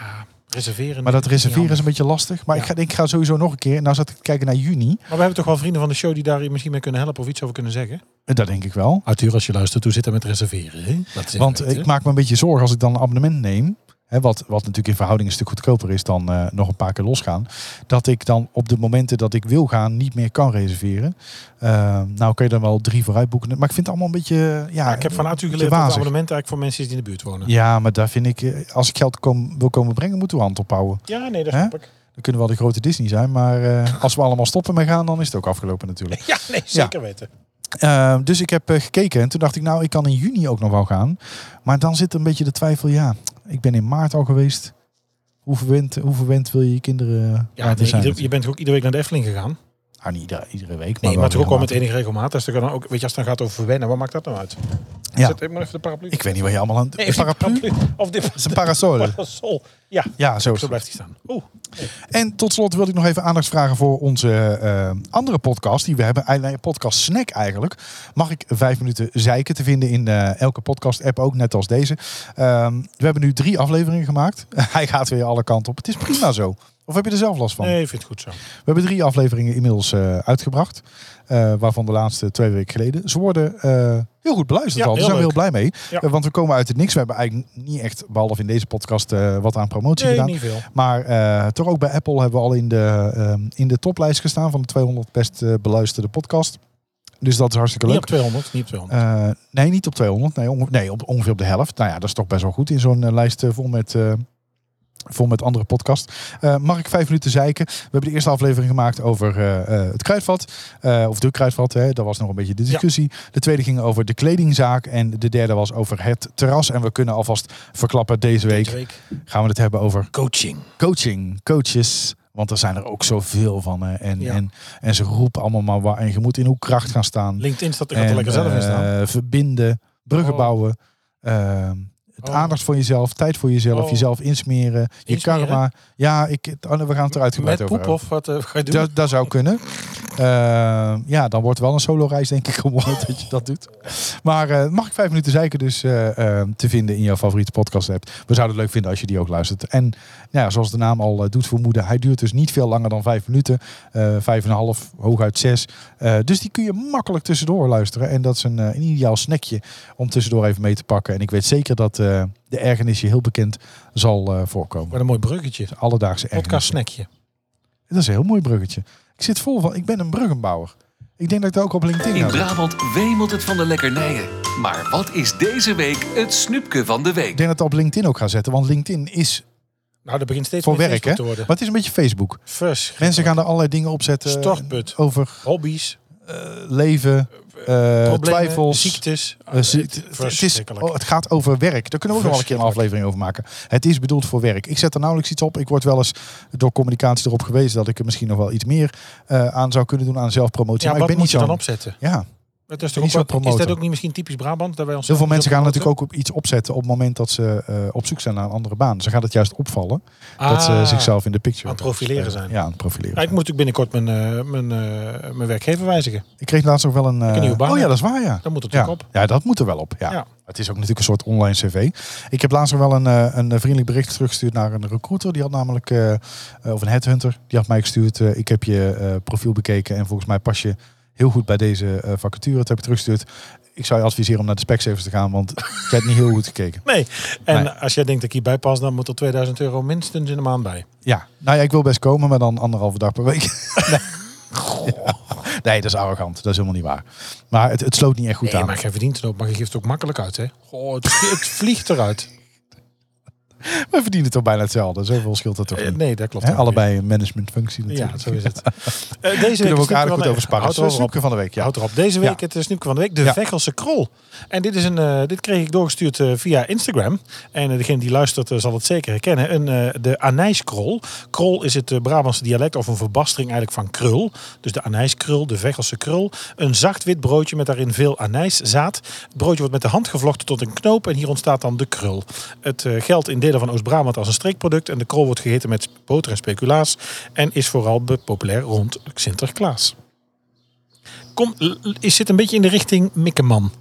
reserveren. Maar dat niet handig. reserveren is een beetje lastig. Maar Ja. ik, ga, ik ga sowieso nog een keer. Nou zat ik te kijken naar juni. Maar we hebben toch wel vrienden van de show die daar misschien mee kunnen helpen of iets over kunnen zeggen? Eh, Dat denk ik wel. Arthur, als je luistert, hoe zit dat met reserveren? Hè? Dat is Want ik maak me een beetje zorgen als ik dan een abonnement neem. Hè, wat, wat natuurlijk in verhouding een stuk goedkoper is dan eh, nog een paar keer losgaan. Dat ik dan op de momenten dat ik wil gaan niet meer kan reserveren. Eh, nou kun je dan wel drie vooruit boeken. Maar ik vind het allemaal een beetje... eh, Ja, ik heb van Arthur beetje geleerd dat het wazig. abonnement eigenlijk voor mensen is die in de buurt wonen. Ja, maar daar vind ik... eh, Als ik geld kom, wil komen brengen, moeten we hand ophouden. Ja, nee, dat Hè? snap ik. Dan kunnen we wel de grote Disney zijn. Maar eh, als we allemaal stoppen met gaan, dan is het ook afgelopen natuurlijk. Ja, nee, zeker weten. Eh, dus ik heb eh, gekeken en toen dacht ik, nou, ik kan in juni ook nog wel gaan. Maar dan zit er een beetje de twijfel, ja, ik ben in maart al geweest. Hoe verwend, hoe verwend wil je je kinderen Ja, ja, laten nee, zijn? ieder- je bent toch ook iedere week naar de Efteling gegaan. Nou, niet iedere, iedere week, maar, Nee, maar toch ook wel met regelmatig. enige regelmaat. Als het dan ook, weet je, als het dan gaat over verwennen, wat maakt dat nou uit? Ja. Zet maar even de paraplu. Ik weet niet waar je allemaal aan... Nee, een paraplu? Dat Of dit is een parasol. parasol. Ja, Ja, zo is zo het. blijft hij staan. Oeh, En tot slot wilde ik nog even aandacht vragen voor onze eh, andere podcast die we hebben. Eigenlijk een Podcast Snack eigenlijk. Mag ik vijf minuten zeiken te vinden in eh, elke podcast app ook, net als deze. Ehm, we hebben nu drie afleveringen gemaakt. Hij gaat weer alle kanten op. Het is prima zo. Of heb je er zelf last van? Nee, ik vind het goed zo. We hebben drie afleveringen inmiddels eh, uitgebracht. eh, waarvan de laatste twee weken geleden. Ze worden eh, heel goed beluisterd Ja, al. Daar heel zijn we heel blij mee. Ja. Eh, want we komen uit het niks. We hebben eigenlijk niet echt, behalve in deze podcast, eh, wat aan promotie Nee, gedaan. niet veel. Maar eh, toch ook bij Apple hebben we al in de, ehm, in de toplijst gestaan van de 200 best eh, beluisterde podcast. Dus dat is hartstikke Niet leuk. op 200, niet op 200. Eh, nee, niet op 200. Nee, onge- nee op, ongeveer op de helft. Nou ja, dat is toch best wel goed in zo'n eh, lijst eh, vol met... eh, Vol met andere podcast. Eh, mag ik vijf minuten zeiken? We hebben de eerste aflevering gemaakt over eh, eh, het kruidvat. Eh, of de kruidvat, hè. daar was nog een beetje de discussie. De tweede ging over de kledingzaak. En de derde was over het terras. En we kunnen alvast verklappen, deze Deze week week gaan we het hebben over coaching. coaching, coaches. Want er zijn er ook zoveel van. Hè. En, Ja. en, en ze roepen allemaal maar waar. En je moet in hoe kracht gaan staan. LinkedIn staat er gaat er En, lekker zelf in staan. eh, verbinden, bruggen Oh. bouwen. ehm, het Oh. aandacht voor jezelf, tijd voor jezelf, Oh. jezelf insmeren, je Insmeren? karma. Ja, ik, het- Anne, we gaan het er uitgebreid Met over poep of wat eh, ga je doen? Dat, dat zou kunnen. Ehm, ja, dan wordt wel een solo-reis, denk ik, geworden dat je dat doet. Maar eh, mag ik vijf minuten zeiken dus eh, ehm, te vinden in jouw favoriete podcast app. We zouden het leuk vinden als je die ook luistert. En nou ja, zoals de naam al eh, doet vermoeden, hij duurt dus niet veel langer dan vijf minuten. Eh, vijf en een half, hooguit zes. Eh, dus die kun je makkelijk tussendoor luisteren. En dat is een, eh, een ideaal snackje om tussendoor even mee te pakken. En ik weet zeker dat eh, de ergernis je heel bekend zal eh, voorkomen. Wat een mooi bruggetje. De alledaagse ergernis. Podcast snackje. Dat is een heel mooi bruggetje. Ik zit vol van, ik ben een bruggenbouwer. Ik denk dat ik dat ook op LinkedIn In heb. Brabant wemelt het van de lekkernijen. Maar wat is deze week het snoepje van de Ik week? denk dat ik dat op LinkedIn ook ga zetten, want LinkedIn is Nou, dat begint steeds voor meer werk, hè? Facebook te Maar worden. het is een beetje Facebook. Vers. Mensen gaan er allerlei dingen op zetten. Stortput. Over Hobby's, eh, leven, eh, problemen, twijfels. ziektes. Eh, zie- het- het- het, is, Verschrikkelijk. oh, het gaat over werk. Daar kunnen we ook nog wel een keer een aflevering over maken. Het is bedoeld voor werk. Ik zet er nauwelijks iets op. Ik word wel eens door communicatie erop gewezen dat ik er misschien nog wel iets meer eh, aan zou kunnen doen aan zelfpromotie. ja, maar ik wat ben moet niet je zo. dan opzetten? Ja, Dat ben is, toch ook niet zo'n wel- is dat promotor. ook niet misschien typisch Brabant? Dat wij ons Heel veel mensen gaan natuurlijk ook op iets opzetten op het moment dat ze eh, op zoek zijn naar een andere baan. Ze gaat het juist opvallen dat ze Ah. zichzelf in de picture Aan het profileren zijn. Ja, aan het profileren. Ja, ik zijn. moet natuurlijk binnenkort mijn, eh, mijn, eh, mijn werkgever wijzigen. Ik kreeg laatst nog wel een. eh, nieuwe baan oh ja, heb. dat is waar, ja. Dan moet het Ja. natuurlijk op. ja, dat moet er wel op. Ja. Ja. Het is ook natuurlijk een soort online cv. Ik heb laatst nog wel een, eh, een vriendelijk bericht teruggestuurd naar een recruiter. Die had namelijk, eh, eh, of een headhunter, die had mij gestuurd. eh, ik heb je eh, profiel bekeken en volgens mij pas je heel goed bij deze eh, vacature. Dat heb ik teruggestuurd. Ik zou je adviseren om naar de specsavers te gaan, want je hebt niet heel goed gekeken. Nee. En Nee. als jij denkt dat ik hierbij pas, dan moet er 2000 euro minstens in de maand bij. Ja, nou ja, ik wil best komen, maar dan anderhalve dag per week. nee. Ja. Nee, dat is arrogant. Dat is helemaal niet waar. Maar het, het sloot niet echt goed Nee, aan. maar jij verdient het ook, maar je geeft het ook makkelijk uit, hè? Goh, het, het vliegt eruit. We verdienen toch bijna hetzelfde. Zoveel scheelt dat toch Eh, niet. Nee, dat klopt. Hè, ook allebei een managementfunctie natuurlijk. Ja, zo is het. Eh, Deze Kunnen week we ook is aardig goed Snoepke over sparren. Houd erop. Snoepje van de week, ja. Houd erop. Deze week Ja. het snoepje van de week, de Ja. Vechelse krol. En dit, is een, eh, dit kreeg ik doorgestuurd eh, via Instagram. En eh, degene die luistert eh, zal het zeker herkennen. Een, eh, de anijskrol. Krol is het eh, Brabantse dialect of een verbastering eigenlijk van krul. Dus de anijskrul, de Vechelse krul. Een zacht wit broodje met daarin veel anijszaad. Het broodje wordt met de hand gevlochten tot een knoop en hier ontstaat dan de krul. Het eh, geldt in delen van Oost-Brabant als een streekproduct. En de krol wordt gegeten met boter en speculaas. En is vooral be- populair rond Sinterklaas kom, l- l- is dit een beetje in de richting Mikkeman,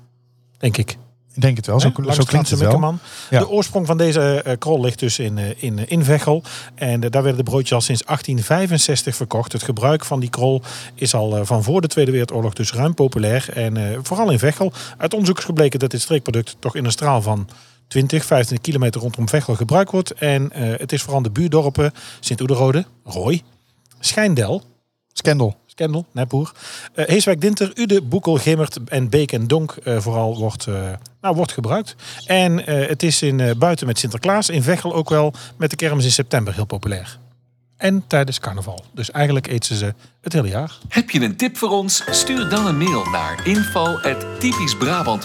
denk ik. Ik denk het wel. Zo, Hè? Langs zo de klinkt Franse het wel. Mikkeman. Ja. De oorsprong van deze eh, krol ligt dus in, eh, in, eh, in Veghel. En eh, daar werden de broodjes al sinds 1865 verkocht. Het gebruik van die krol is al eh, van voor de Tweede Wereldoorlog dus ruim populair. En eh, vooral in Veghel. Uit onderzoek is gebleken dat dit streekproduct toch in een straal van 20, 25 kilometer rondom Veghel gebruikt wordt. En eh, het is vooral in de buurdorpen Sint-Oederode, Rooi, Schijndel, Scandal. Skendel, Nephoer. Eh Heeswijk, Dinter, Ude, Boekel, Gimmert en Beek en Donk eh, vooral wordt, eh, nou, wordt gebruikt. En eh, het is in, eh, buiten met Sinterklaas, in Veghel ook wel met de kermis in september heel populair. En tijdens carnaval. Dus eigenlijk eten ze het hele jaar. Heb je een tip voor ons? Stuur dan een mail naar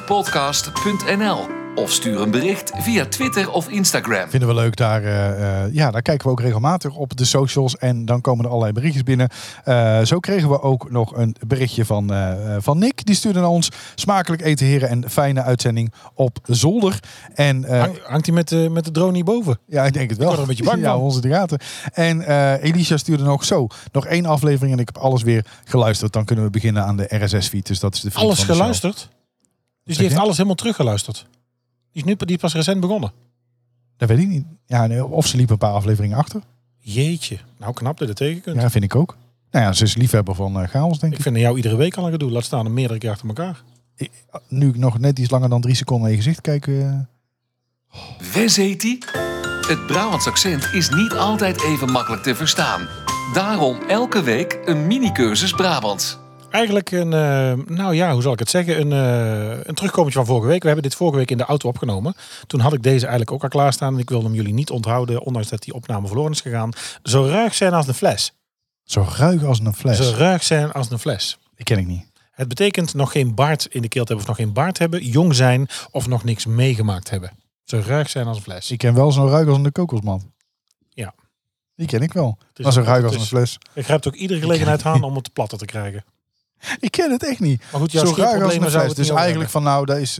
info.typischbrabantpodcast.nl of stuur een bericht via Twitter of Instagram. Vinden we leuk. Daar, eh, eh, ja, daar kijken we ook regelmatig op de socials. En dan komen er allerlei berichtjes binnen. Eh, zo kregen we ook nog een berichtje van, eh, eh, van Nick. Die stuurde naar ons. Smakelijk eten heren en fijne uitzending op zolder. En eh, Hang- hangt hij met, de met de drone hierboven? Ja, ik denk het wel. word er een beetje bang ja, van. onze de gaten. En eh, Elisha stuurde nog zo. Nog één aflevering en ik heb alles weer geluisterd. Dan kunnen we beginnen aan de RSS-feed. Dus dat is de vriend Alles van de show. geluisterd? Dus je? die heeft alles helemaal teruggeluisterd? Die is nu die is pas recent begonnen. Dat weet ik niet. Ja, nee, of ze liep een paar afleveringen achter. Jeetje, nou knap dat je tegen kunt. Ja, vind ik ook. Nou ja, ze is liefhebber van eh, chaos, denk ik. Ik vind jou iedere week al een gedoe. Laat staan er meerdere keer achter elkaar. Nu ik nog net iets langer dan drie seconden naar je gezicht kijk. eh, Wes heet die? Het Brabants accent is niet altijd even makkelijk te verstaan. Daarom elke week een mini-cursus Brabants. Eigenlijk een, eh, nou ja, hoe zal ik het zeggen? Een, eh een terugkomertje van vorige week. We hebben dit vorige week in de auto opgenomen. Toen had ik deze eigenlijk ook al klaarstaan. En ik wilde hem jullie niet onthouden, ondanks dat die opname verloren is gegaan. Zo ruig zijn als een fles. zo ruig als een fles. Zo ruig zijn als een fles. Die ken ik niet. Het betekent nog geen baard in de keel te hebben of nog geen baard hebben, jong zijn of nog niks meegemaakt hebben. Zo ruig zijn als een fles. Ik ken wel zo ruig als een kokosman. Ja. Die ken ik wel. is- Maar zo ruig als het een is- fles. Ik grijp ook iedere gelegenheid aan om het platter te krijgen. Ik ken het echt niet. Maar goed, jouw Zo ruig als scheurproblemen een zou fles. Dus het niet over hebben. eigenlijk van nou, dat is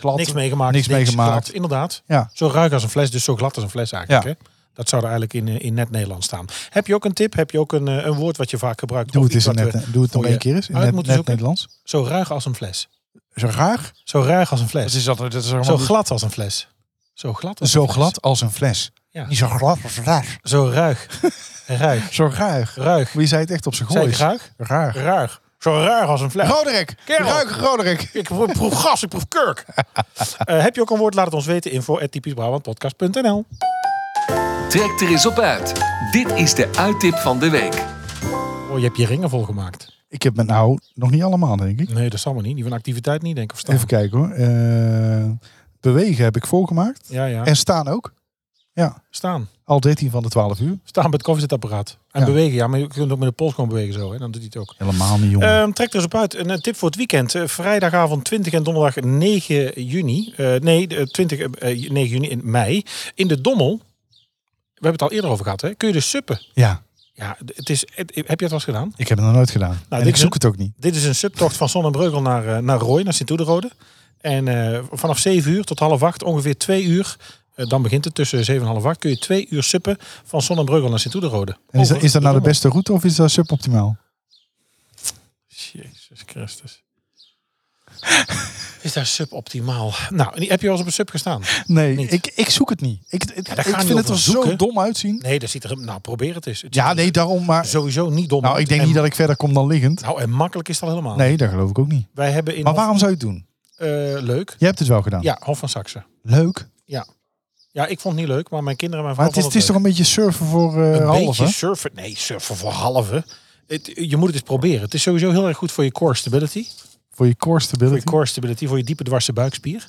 glad. Niks meegemaakt. Niks meegemaakt. glad, inderdaad. Ja. Zo ruik als een fles, dus zo glad als een fles eigenlijk. Ja. Hè? Dat zou er eigenlijk in, eh, in net Nederland staan. Heb je ook een tip? Heb je ook een, eh, een woord wat je vaak gebruikt? Doe Of het eens iets in wat we- net, doe het nog voor één je keer eens. In uit net, moeten net zoeken? Nederlands. Zo ruig als een fles. Zo ruig? Zo ruig als een fles. is dat, dat is zo glad als een fles. Zo glad als zo een fles. glad als een fles. Ja. Niet zo glad als een fles. Zo ruig. ruig. Zo ruig. Ruig. Wie zei het echt op zijn Zeg ik goois? ruig? Raar. Ruig. Zo ruig als een fles. Roderick! Kerel. Ruik Roderick! Ik proef proef gas, ik proef kurk. Eh, heb je ook een woord? Laat het ons weten. Info at typischbrabantpodcast.nl Trek er eens op uit. Dit is de uittip van de week. Oh, je hebt je ringen volgemaakt. Ik heb me nou nog niet allemaal, denk ik. Nee, dat zal maar niet. Die van activiteit niet, denk ik. Of staan. Even kijken hoor. Eh, bewegen heb ik volgemaakt. Ja, ja. En staan ook. Staan. Al 13 van de 12 uur. Staan bij het koffiezetapparaat. En Ja. bewegen. Ja, maar je kunt ook met de pols gewoon bewegen zo. Hè? Dan doet hij het ook. Helemaal niet, jongen. Ehm, trek er eens op uit. Een eh, tip voor het weekend. Eh, vrijdagavond 20 en donderdag 9 juni. Eh, nee, de 20, eh, eh, 9 juni in mei. In de Dommel. We hebben het al eerder over gehad. Hè? Kun je dus suppen. ja, Ja, d- het is, het- heb je het wel eens gedaan? ik heb het nog nooit gedaan. en Nou, dit ik is zoek een- het ook niet. Dit is een subtocht van Sonnenbreugel naar, eh, naar Rooi, naar Sint-Oederode. En eh, vanaf 7 uur tot half 8, ongeveer 2 uur. eh, dan begint het tussen 7 en half 8. Kun je 2 uur suppen van Sonnenbreugel naar Sint-Oederode. En is, dat, is dat nou de Over- beste route of is dat suboptimaal? Jezus Christus. Is daar suboptimaal? Nou, en die- heb je wel eens op een sub gestaan? Nee, Niet. ik, ik zoek het niet. Ik, het- daar ik ga je vind het er over zoeken. zo dom uitzien. Nee, dat ziet er... Nou, probeer het eens. Het ziet Ja, er nee, daarom maar. Sowieso niet dom. Nou, ik denk En- niet dat ik verder kom dan liggend. Nou, en makkelijk is dat helemaal. Nee, dat geloof ik ook niet. Wij hebben in... Maar Hof- waarom zou je het doen? eh, leuk. Je hebt het wel gedaan. Ja, Hof van Saxe. Leuk. Ja, ik vond het niet leuk, maar mijn kinderen en mijn Maar vrouw het is, het vonden is toch een beetje surfen voor eh Een halve? beetje surfen. Nee, surfen voor halve. Het, je moet het eens proberen. Het is sowieso heel erg goed voor je core stability. Voor je core Voor je stability. core stability, voor je diepe dwarse buikspier.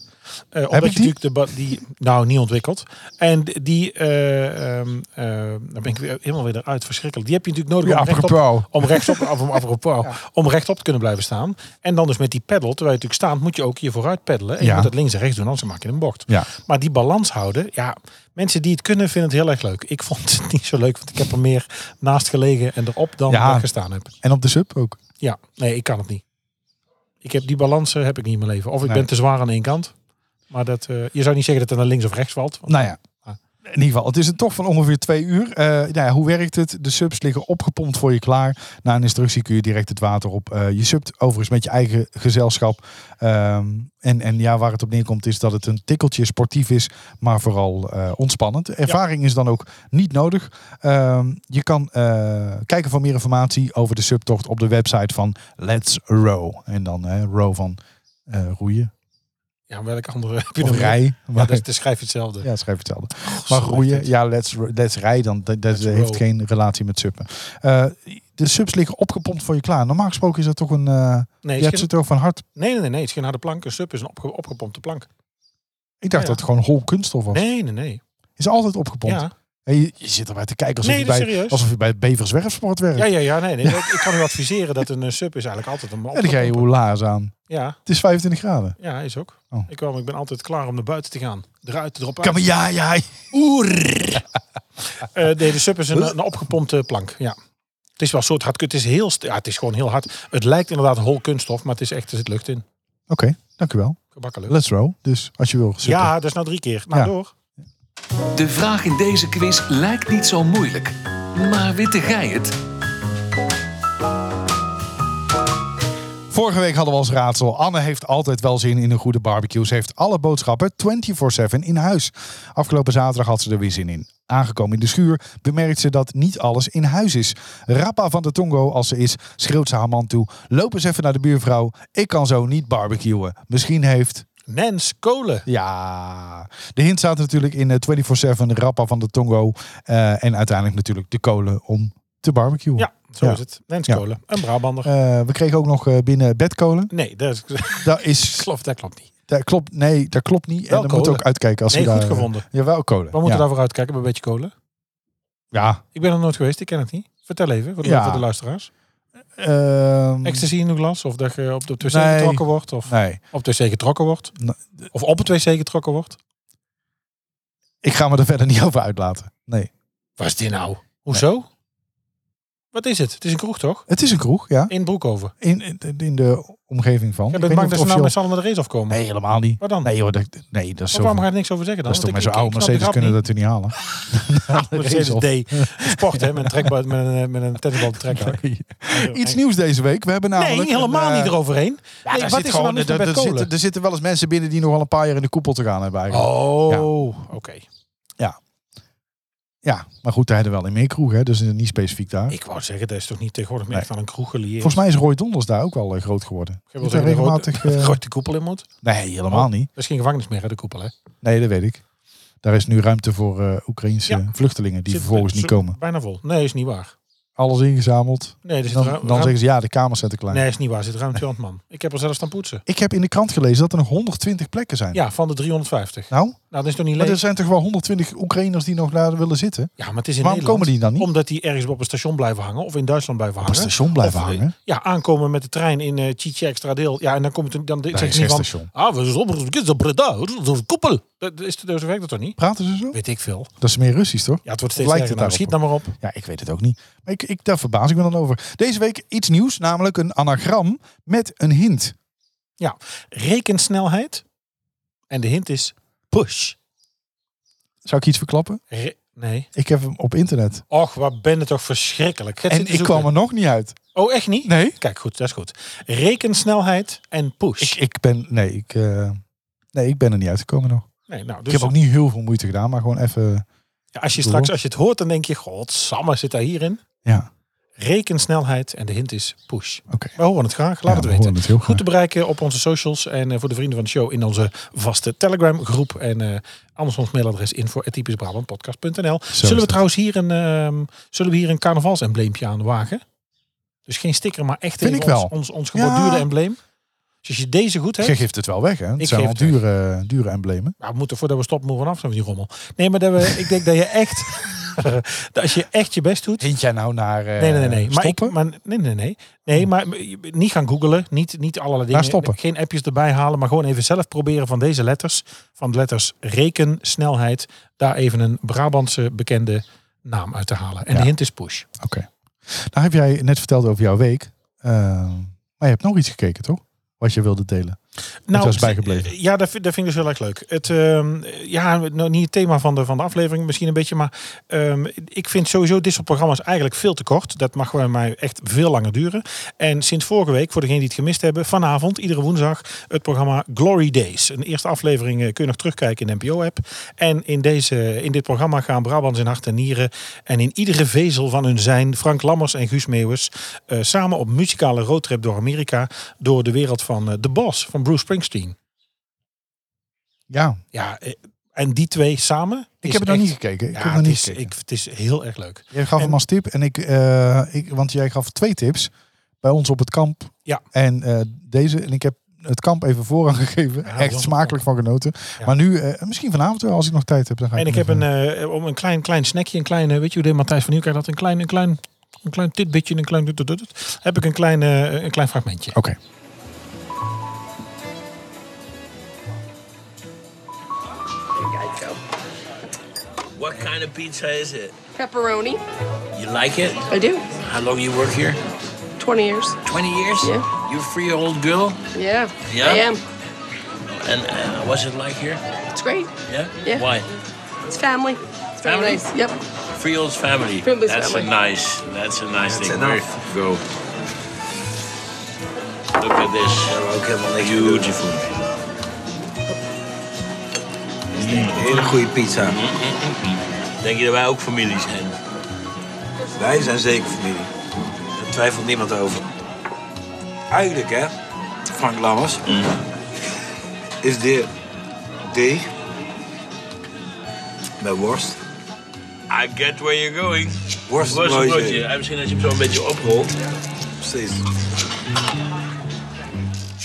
Eh ik omdat je die? natuurlijk de ba- die nou niet ontwikkeld. En die, eh ehm eh, dan ben ik weer helemaal weer eruit, verschrikkelijk. Die heb je natuurlijk nodig Ja, om rechtop, apropos. om rechtop, of om, apropos, om rechtop te kunnen blijven staan. En dan dus met die pedal, terwijl je natuurlijk staand, moet je ook je vooruit peddelen. En je Ja. moet dat links en rechts doen, anders maak je een bocht. Ja. Maar die balans houden, ja, mensen die het kunnen vinden het heel erg leuk. Ik vond het niet zo leuk, want ik heb er meer naast gelegen en erop dan Ja. eh, gestaan heb. En op de sub ook. Ja, nee, ik kan het niet. Ik heb die balans eh, heb ik niet in mijn leven. Of ik Nee. ben te zwaar aan één kant. Maar dat, eh, je zou niet zeggen dat het naar links of rechts valt. Nou ja. Ah. In ieder geval, het is een tocht van ongeveer twee uur. Eh, nou ja, hoe werkt het? De subs liggen opgepompt voor je klaar. Na een instructie kun je direct het water op. Eh, je subt overigens met je eigen gezelschap. Ehm, en, en ja, waar het op neerkomt is dat het een tikkeltje sportief is, maar vooral eh, ontspannend. De Ervaring is dan ook niet nodig. Ehm, je kan eh, kijken voor meer informatie over de subtocht op de website van Let's Row. En dan hè, row van eh, roeien. Ja, welke andere heb je Of nog? rij. Ja, Maar- dat, is- dat schrijf je hetzelfde. ja, schrijf hetzelfde. Och, Maar zo groeien, werkt het. ja, let's, let's rij dan. Dat, dat Let's heeft roll. geen relatie met suppen. Eh, de subs liggen opgepompt voor je klaar. Normaal gesproken is dat toch een... eh Nee, je hebt het is ze geen, toch van hard... nee, nee, nee, nee, het is geen harde plank. Een sub is een opge- opgepompte plank. Ik dacht Ja. dat het gewoon hol kunststof was. Nee, nee, nee. Is altijd opgepompt. Ja, En je, je zit erbij te kijken alsof, nee, je, dat is bij, serieus. alsof je bij het Beverswerfsport werkt. Ja, Ja, ja, ja. Nee, nee. Ik, ik kan u adviseren dat een eh, sub is eigenlijk altijd een en dan ga je opgepompt. hoela's aan. Ja, Het is 25 graden. ja, is ook. Oh. Ik, wel, maar ik ben altijd klaar om naar buiten te gaan. Eruit, erop Kan uit. maar ja, ja. Oer. Eh, nee, de sub is een, een opgepompte plank. Ja. Het is wel een soort hard. Het is heel, st- ja, het is gewoon heel hard. Het lijkt inderdaad hol kunststof, maar het is echt, er zit lucht in. Oké, dank u wel. Gebakken lucht. Let's row. Dus als je wil suppen. Ja, dat is nou drie keer. Nou, Ja. door. De vraag in deze quiz lijkt niet zo moeilijk. Maar witte gij het? Vorige week hadden we als raadsel. Anne heeft altijd wel zin in een goede barbecue. Ze heeft alle boodschappen 24-7 in huis. Afgelopen zaterdag had ze er weer zin in. Aangekomen in de schuur bemerkt ze dat niet alles in huis is. Rappa van de Tongo, als ze is, schreeuwt ze haar man toe. Loop eens even naar de buurvrouw. Ik kan zo niet barbecuen. Misschien heeft... Nens Kolen. Ja, de hint staat natuurlijk in eh, 24-7 Rappa van de Tongo. eh, en uiteindelijk natuurlijk de kolen om te barbecuen. Ja, zo Ja. is het. Nens Ja. Kolen. Een Brabander. Eh, we kregen ook nog eh, binnen bedkolen. nee, dat, is, Dat is klopt, dat klopt niet. Dat klopt, nee, dat klopt niet. Wel en dan moet je kolen. ook uitkijken als Nee, je goed daar... gevonden. Ja, wel kolen. We moeten ja. daarvoor uitkijken bij een beetje kolen. Ja. Ik ben er nooit geweest, ik ken het niet. Vertel even, voor de, Ja. Mm. voor de luisteraars. Ehm, Ecstasy in een glas, of dat je op de wc Nee. getrokken wordt, of nee, op de wc getrokken wordt. Nee. Of op het wc getrokken wordt. ik ga me er verder niet over uitlaten. Nee. Waar is dit nou? Hoezo? Wat is het? Het is een kroeg, toch? Het is een kroeg, ja. In Broekhoven. In, in, in de omgeving van. Ja, Ik dat weet maakt niet dat of ze nou officieel- met z'n allen naar de race afkomen. Nee, helemaal niet. Waar dan? Nee, hoor, dat, nee, dat is Maar zo... waarom ga je er niks over zeggen dan? Dat is toch met Want zo'n ik- oude ik- ik Mercedes snap kunnen de dat er niet halen. grap niet. Mercedes D. Sport, hè? Met een, trekbal, met een, eh, met een tennisbal te trekken. Nee. Iets nieuws deze week. We hebben namelijk... Nee, helemaal een, eh, niet eroverheen. ja, Nee, daar wat zit is er gewoon- dan niet er- met er kolen? zitten- Er zitten wel eens mensen binnen die nog wel een paar jaar in de koepel te gaan hebben eigenlijk. Oh, oké. Ja, maar goed, daar hebben we wel in meer kroegen, hè, dus niet specifiek daar. Ik wou zeggen, dat is toch niet tegenwoordig meer Nee. echt aan een kroeg gelieerd. Volgens mij is Roy Donders daar ook wel eh, groot geworden. Ik Is heb wel daar zeggen, dat regelmatig, Roy- eh, Roy de koepel in moet. Nee, helemaal Oh. niet. Dat is geen gevangenis meer, hè, de koepel, hè? Nee, dat weet ik. Daar is nu ruimte voor eh Oekraïnse Ja. vluchtelingen die Zit- vervolgens niet zo- komen. Bijna vol. Nee, is niet waar. Alles ingezameld. Nee, er zit Dan, ru- dan ruim- zeggen ze ja, de kamers zijn te klein. Nee, is niet waar. Er zit ruim 200 man. Ik heb er zelfs staan poetsen. Ik heb in de krant gelezen dat er nog 120 plekken zijn. Ja, van de 350. Nou, Nou, dat is toch niet maar leuk? er zijn toch wel 120 Oekraïners die nog daar willen zitten? Ja, maar het is in Waarom Nederland. komen die dan niet? Omdat die ergens op een station blijven hangen. Of in Duitsland blijven op het hangen. station blijven Of, eh, hangen? Ja, aankomen met de trein in eh Chietje Extra Deel. Ja, en dan komt het dan Nee, zegt geen niet van... station. Ah, we zijn op we zijn op Breda, we zijn op koepel. Dat is zo werkt dat toch niet? Praten ze zo? Weet ik veel. Dat is meer Russisch, toch? Ja, het wordt steeds Lijkt erger. het Nou, daarop? schiet nou maar op. Ja, ik weet het ook niet. Maar ik, ik, daar verbaas ik me dan over. Deze week iets nieuws, namelijk een anagram met een hint. Rekensnelheid. En de hint is push. Zou ik iets verklappen? Re- nee. Ik heb hem op internet. Och, wat ben het toch verschrikkelijk. Gaat En zitten ik kwam zoeken. er nog niet uit. Oh, echt niet? Nee? Kijk, goed, dat is goed. Rekensnelheid en push. Ik, ik ben, nee, ik, eh, nee, ik ben er niet uitgekomen nog. nee, nou, Ik dus heb ook niet heel veel moeite gedaan, maar gewoon even, ja, als je door. straks als je het hoort, dan denk je, godsamme, zit daar hierin? ja, Rekensnelheid en de hint is push. oké. We horen het graag, laat Ja, het we weten. horen het heel Goed graag. te bereiken op onze socials en eh, voor de vrienden van de show in onze vaste Telegram groep. En eh, anders ons mailadres info.typischbrabantpodcast.nl is Zullen we dat. trouwens hier een, ehm, zullen we hier een carnavalsembleempje aan wagen? Dus geen sticker, maar echt Vind even ik wel. ons, ons, ons geborduurde Ja. embleem. Dus als je deze goed hebt, Je geeft het wel weg, hè? Het Ik zijn wel geef het dure, dure emblemen. Nou, we moeten voordat we stoppen, moeten we vanaf zijn van die rommel. Nee, maar dat we, ik denk dat je echt, dat als je echt je best doet. Hint jij nou naar Nee, nee, nee. nee. Maar, ik, stoppen? maar nee, nee, nee. Nee, maar niet gaan googelen. Niet, niet allerlei dingen. stoppen. Geen appjes erbij halen. Maar gewoon even zelf proberen van deze letters. Van de letters reken, snelheid. Daar even een Brabantse bekende naam uit te halen. En Ja. de hint is push. Oké. Nou heb jij net verteld over jouw week. eh, maar je hebt nog iets gekeken, toch? Wat je wilde delen. was bijgebleven. Nou, Ja, dat vind, dat vind ik dus heel erg leuk. Het, ehm, ja, nou, niet het thema van de, van de aflevering misschien een beetje, maar ehm, ik vind sowieso dit soort programma's eigenlijk veel te kort. Dat mag bij mij echt veel langer duren. En sinds vorige week, voor degenen die het gemist hebben, vanavond, iedere woensdag, het programma Glory Days. Een eerste aflevering eh, kun je nog terugkijken in de NPO-app. En in, deze, in dit programma gaan Brabants in hart en nieren en in iedere vezel van hun zijn Frank Lammers en Guus Meeuwis eh, samen op muzikale roadtrip door Amerika, door de wereld van eh, The Boss van Bruce Springsteen. Ja, Ja, eh, en die twee samen. ik is heb het nog echt- niet gekeken. Ik ja, heb nog het, niet is, gekeken. ik, het is heel erg leuk. Jij gaf En- hem als tip en ik, eh, ik, want jij gaf twee tips bij ons op het kamp. Ja. En eh, deze, en ik heb het kamp even voorrang gegeven. Ja, Echt wel. smakelijk van genoten. Ja. Maar nu, eh, misschien vanavond wel, als ik nog tijd heb. Dan ga ik En ik hem heb een, even- eh, om een klein, klein snackje, een klein, eh, weet je hoe de Matthijs van Nieuwkerk dat, een klein, een klein, een klein titbitje, een klein, dut, dut, dut, dut, heb ik een klein, eh, een klein fragmentje. Oké. Geico. What kind of pizza is it? Pepperoni. You like it? I do. How long you work here? 20 years. 20 years? Yeah. You free old girl? Yeah. Yeah? I am. And uh, what's it like here? It's great. Yeah? Yeah. Why? It's family. It's very Family? nice. Yep. Free old's family. Free old's that's family. a nice, that's a nice That's thing. enough. Go. Look at this. Beautiful. Hele goede pizza. Mm, Denk je dat wij ook familie zijn? Wij zijn zeker familie. Daar twijfelt niemand over. Eigenlijk, hè, Frank Lammers, is de deeg met worst. I get where you're going. Worstenbroodje. Worstenbroodje. Ja, misschien als je hem zo een beetje oprolt. Precies.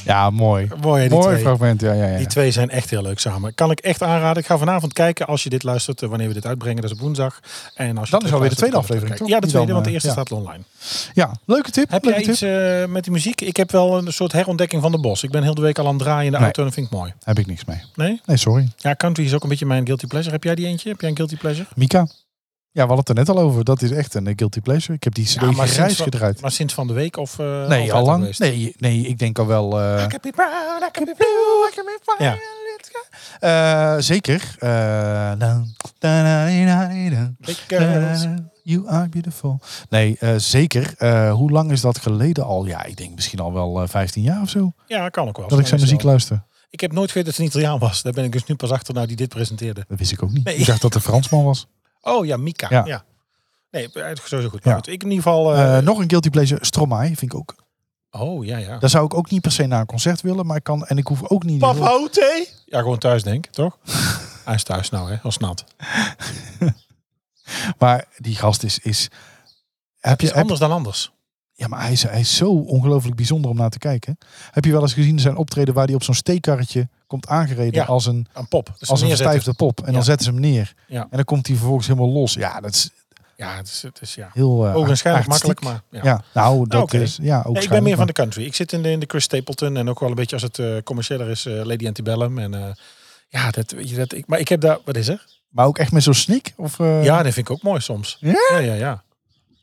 Ja, mooi. Mooi, hè, die mooi twee. fragment. Ja, ja, ja. Die twee zijn echt heel leuk samen. Kan ik echt aanraden. Ik ga vanavond kijken als je dit luistert, eh, wanneer we dit uitbrengen. Dat is op woensdag. En als je Dan is alweer de terugluistert, tweede kan je aflevering, terugkijken. toch? Ja, de Die tweede, dan, want de eh, eerste ja. staat al online. ja, leuke tip. Heb leuke jij iets tip. eh, met die muziek? Ik heb wel een soort herontdekking van de bos. Ik ben heel de week al aan het draaien in de Nee. auto en dat vind ik mooi. Heb ik niks mee. eh? Nee? Nee, sorry. Ja, country is ook een beetje mijn guilty pleasure. Heb jij die eentje? Heb jij een guilty pleasure? Mika. Ja, we hadden het er net al over. Dat is echt een eh, guilty pleasure. Ik heb die CD Ja, maar grijs sinds wa- gedraaid. Maar sinds van de week of eh, altijd Nee, al al lang. geweest? Nee, nee, ik denk al wel. eh, I can be proud, I can be blue, I can be fine. Ja. eh, zeker. Eh, na- na- na- na- na- na- Big girls. You are beautiful. Nee, eh, zeker. Eh, hoe lang is dat geleden al? Ja, ik denk misschien al wel eh, 15 jaar of zo. Ja, kan ook wel. Dat ik zijn Is muziek wel- luister. Ik heb nooit geweten dat ze een Italiaan was. Daar ben ik dus nu pas achter nou die dit presenteerde. Dat wist ik ook niet. Nee. Ik dacht dat de Fransman was. Oh ja, Mika. Ja. Ja. Nee, eh, sowieso goed. Ja. Maar goed, ik in ieder geval... eh, Eh, nog een guilty pleasure. Stromae vind ik ook. oh, ja, ja. Daar zou ik ook niet per se naar een concert willen. Maar ik kan, en ik hoef ook niet... Ote? Ja, gewoon thuis denk ik, toch? Hij is thuis nou, hè? Als nat. Maar die gast is... is heb je, Is heb, anders dan anders. ja, maar hij is, hij is zo ongelooflijk bijzonder om naar te kijken. Heb je wel eens gezien zijn optreden waar hij op zo'n steekkarretje komt aangereden Ja. als een, Een pop. Dus als een neerzetten. verstijfde pop. En dan Ja. zetten ze hem neer. Ja. En dan komt hij vervolgens helemaal los. Ja, dat is Ja, het is, het is ja. heel eh Ogenschijnlijk artistiek. makkelijk, maar... Ja. Ja. nou, dat oké. is... Ja, ook Nee, ik ben meer van de country. Ik zit in de, in de Chris Stapleton en ook wel een beetje als het eh, commerciëler is, eh, Lady Antebellum. En eh, ja, dat weet je dat. Ik, maar ik heb daar, wat is er? Maar ook echt met zo'n sneak? Of, eh, Ja, dat vind ik ook mooi soms. Ja? Ja, ja, ja.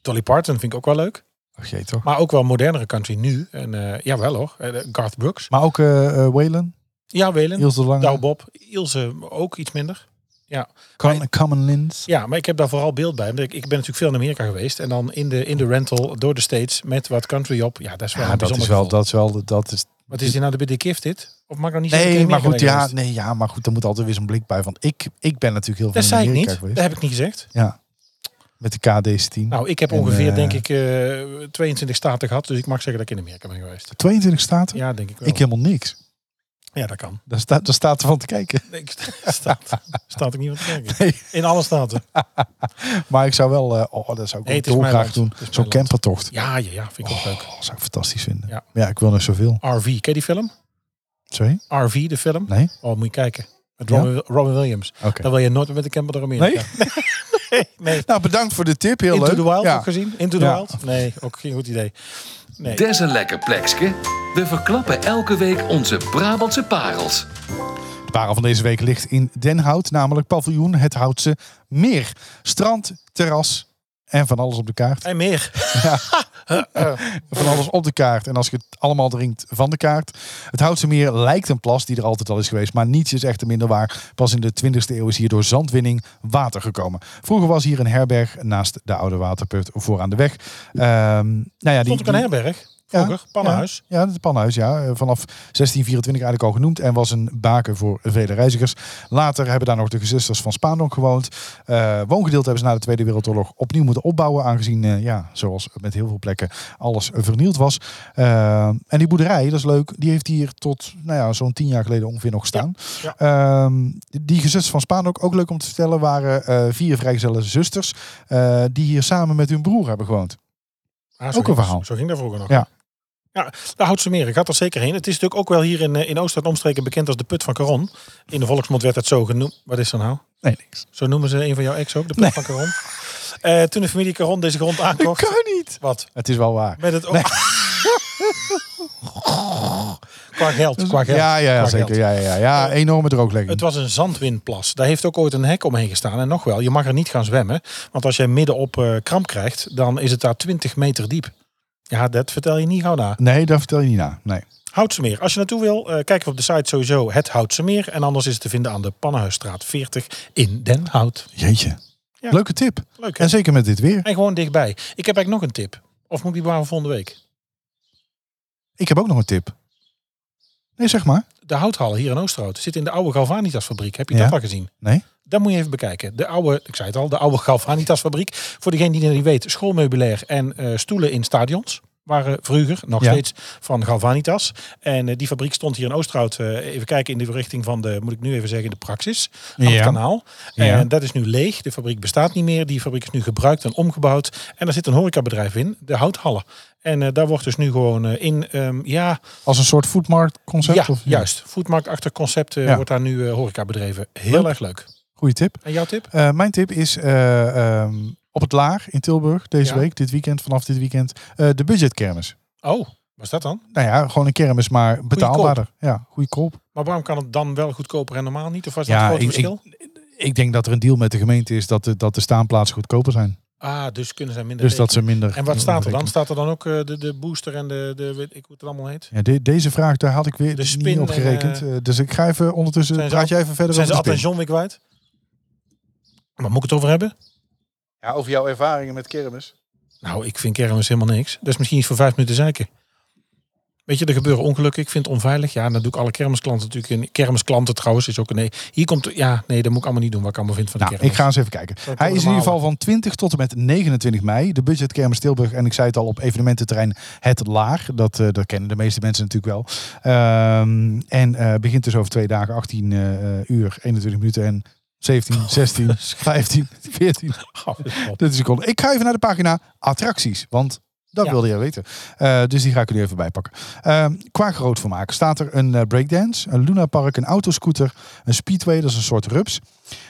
Dolly Parton vind ik ook wel leuk. Och jee, toch? Maar ook wel modernere country nu. En eh ja, wel hoor. Eh, Garth Brooks. Maar ook eh eh, Waylon, Ja, Welen. Niels de Lange, Douw Bob. Ilse ook iets minder. Ja. Con- Common Lins. ja, maar ik heb daar vooral beeld bij. Want Ik ik ben natuurlijk veel in Amerika geweest. En dan in de, in de rental door de States met wat country op. Ja, dat is wel Ja, een dat bijzonder is wel... gevoel. Dat is wel dat is, Wat is die nou de Biddy Gift dit? Of mag ik nog niet zeggen dat Nee, ik in maar goed, Amerika ben ja, geweest? nee, ja, maar goed, er moet altijd weer zo'n blik bij. Want ik, ik ben natuurlijk heel veel in Dat zei ik Amerika niet. geweest. Dat heb ik niet gezegd. Ja, met de KD's-10. Nou, ik heb En, ongeveer, eh, denk ik, eh 22 staten gehad. Dus ik mag zeggen dat ik in Amerika ben geweest. 22 staten? Ja, denk ik wel. Ik helemaal niks. ja, dat kan. Daar, staat daar staat ervan te kijken. Nee, ik staat, staat ik niet wat te kijken. Nee. In alle staten. Maar ik zou wel, eh, oh, dat zou ik Nee, ook het is mijn dolgraag land. doen. Het Zo'n is mijn land. campertocht. Ja, ja, ja. Vind ik ook leuk. Oh, zou ik fantastisch vinden. Ja. Ja, ik wil nog zoveel. RV. Ken je die film? Sorry? RV, de film? Nee? Oh, moet je kijken. Met Ja? Robin, Robin Williams. Oké. Dan wil je nooit meer met de camper door Amerika. Nee. Nou, bedankt voor de tip. Heel Into leuk. the Wild ja. ook gezien? Into the Ja. Wild? Nee, ook geen goed idee. Nee. Des een lekker plekske. We verklappen elke week onze Brabantse parels. De parel van deze week ligt in Den Hout, namelijk paviljoen Het Houtse Meer. Strand, terras en van alles op de kaart. En meer. van alles op de kaart. En als je het allemaal drinkt van de kaart. Het Houtse Meer lijkt een plas die er altijd al is geweest. Maar niets is echter minder waar. Pas in de 20e eeuw is hier door zandwinning water gekomen. Vroeger was hier een herberg naast de oude waterput vooraan de weg. Ehm, nou ja, die, Stond ook een die- herberg. Vroeger. Pannenhuis. ja, het pannenhuis, ja. Eh, Vanaf 1624 eigenlijk al genoemd. En was een baken voor vele reizigers. Later hebben daar nog de gezusters van Spaandonk gewoond. Eh, woongedeelte hebben ze na de Tweede Wereldoorlog opnieuw moeten opbouwen. Aangezien, eh, ja, zoals met heel veel plekken, alles vernield was. Eh, en die boerderij, dat is leuk, die heeft hier tot nou ja, zo'n tien jaar geleden ongeveer nog staan. Ja, Ehm, die gezusters van Spaandonk, ook leuk om te vertellen, waren eh, vier vrijgezelle zusters. eh, die hier samen met hun broer hebben gewoond. Ah, zo Ook ging- een verhaal. Zo ging dat vroeger nog. Ja. Ja, daar houdt ze meer. Ik had er zeker heen. Het is natuurlijk ook wel hier in, eh, in Oost- en omstreken bekend als de put van Caron. In de volksmond werd dat zo genoemd. Wat is dat nou? Nee, niks. Zo noemen ze een van jouw ex ook, de put Nee. van Caron. Eh, toen de familie Caron deze grond Dat aankocht. kan niet! Wat? Het is wel waar. Met het oog. qua geld, qua geld. Ja, ja, ja qua zeker. geld. Ja, ja, ja, ja enorme drooglegging. Het was een zandwindplas. Daar heeft ook ooit een hek omheen gestaan. En nog wel, je mag er niet gaan zwemmen. Want als jij midden op eh, kramp krijgt, dan is het daar 20 meter diep. Ja, dat vertel je niet gauw na. Nee, dat vertel je niet na. Nee. Houtsemeer. Als je naartoe wil, eh, kijk op de site sowieso het Houtsemeer. En anders is het te vinden aan de Pannenhuisstraat 40 in Den Hout. Jeetje. Ja. Leuke tip. Leuk hè? En zeker met dit weer. En gewoon dichtbij. Ik heb eigenlijk nog een tip. Of moet ik die bewaren voor volgende week? Ik heb ook nog een tip. Nee, zeg maar. De houthallen hier in Oosterhout zit in de oude Galvanitas-fabriek. Heb je Ja. dat al gezien? Nee. Dat moet je even bekijken. De oude, ik zei het al, de oude Galvanitas-fabriek. Voor degene die het niet weet, schoolmeubilair en eh, stoelen in stadions. Waren vroeger nog Ja. steeds van Galvanitas. En eh, die fabriek stond hier in Oosterhout. eh, even kijken in de richting van de, moet ik nu even zeggen, de Praxis. Aan Ja. het kanaal. Ja. En dat is nu leeg. De fabriek bestaat niet meer. Die fabriek is nu gebruikt en omgebouwd. En daar zit een horecabedrijf in, de Houthallen. En eh, daar wordt dus nu gewoon eh, in, ehm, ja, Als een soort foodmarktconcept? ja, of, juist. Foodmarktachtig concept eh, Ja. wordt daar nu eh horeca bedreven. Heel Leuk. erg leuk. Goeie tip. En jouw tip? Eh, mijn tip is eh, ehm, op het Laag in Tilburg deze Ja. week, dit weekend, vanaf dit weekend, eh, de budgetkermis. Oh, was dat dan? Nou ja, gewoon een kermis, maar betaalbaarder. Ja, goedkoop. Maar waarom kan het dan wel goedkoper en normaal niet? Of was dat Ja, een groot ik- verschil? Ik denk dat er een deal met de gemeente is dat de, dat de staanplaatsen goedkoper zijn. ah, dus kunnen zij minder Dus dat ze rekenen. minder... En wat staat er dan? rekenen. Staat er dan ook eh, de, de booster en de, de weet ik hoe het allemaal heet? Ja, de- deze vraag, daar had ik weer De niet spin op en, gerekend. eh, Eh, dus ik ga even ondertussen... Zijn ze Praat al- jij even verder Zijn ze over de Ad en spin. John weer kwijt? Maar moet ik het over hebben? Ja, over jouw ervaringen met kermis. Nou, ik vind kermis helemaal niks. Dat is misschien iets voor vijf minuten zeiken. Weet je, er gebeuren ongelukken. Ik vind het onveilig. Ja, dat doe ik alle kermisklanten natuurlijk. En kermisklanten trouwens is ook een nee. Hier komt, ja, nee, dat moet ik allemaal niet doen wat ik allemaal vind van de Nou, kermis. ik ga eens even kijken. komen Hij is in ieder normale. geval van 20 tot en met 29 mei. De budget Kermis Tilburg. En ik zei het al, op evenemententerrein Het Laag. Dat, eh, dat kennen de meeste mensen natuurlijk wel. Ehm, en eh, begint dus over twee dagen, 18 eh, uur, 21 minuten en 17, Oh, 16, 15, 14. Gauw op. Dat is een seconde. Ik ga even naar de pagina attracties, want dat Ja. wilde jij weten. Eh, dus die ga ik er nu even bij pakken. Ehm, qua groot vermaak staat er een eh, breakdance, een lunapark, een autoscooter, een speedway, dat is een soort rups.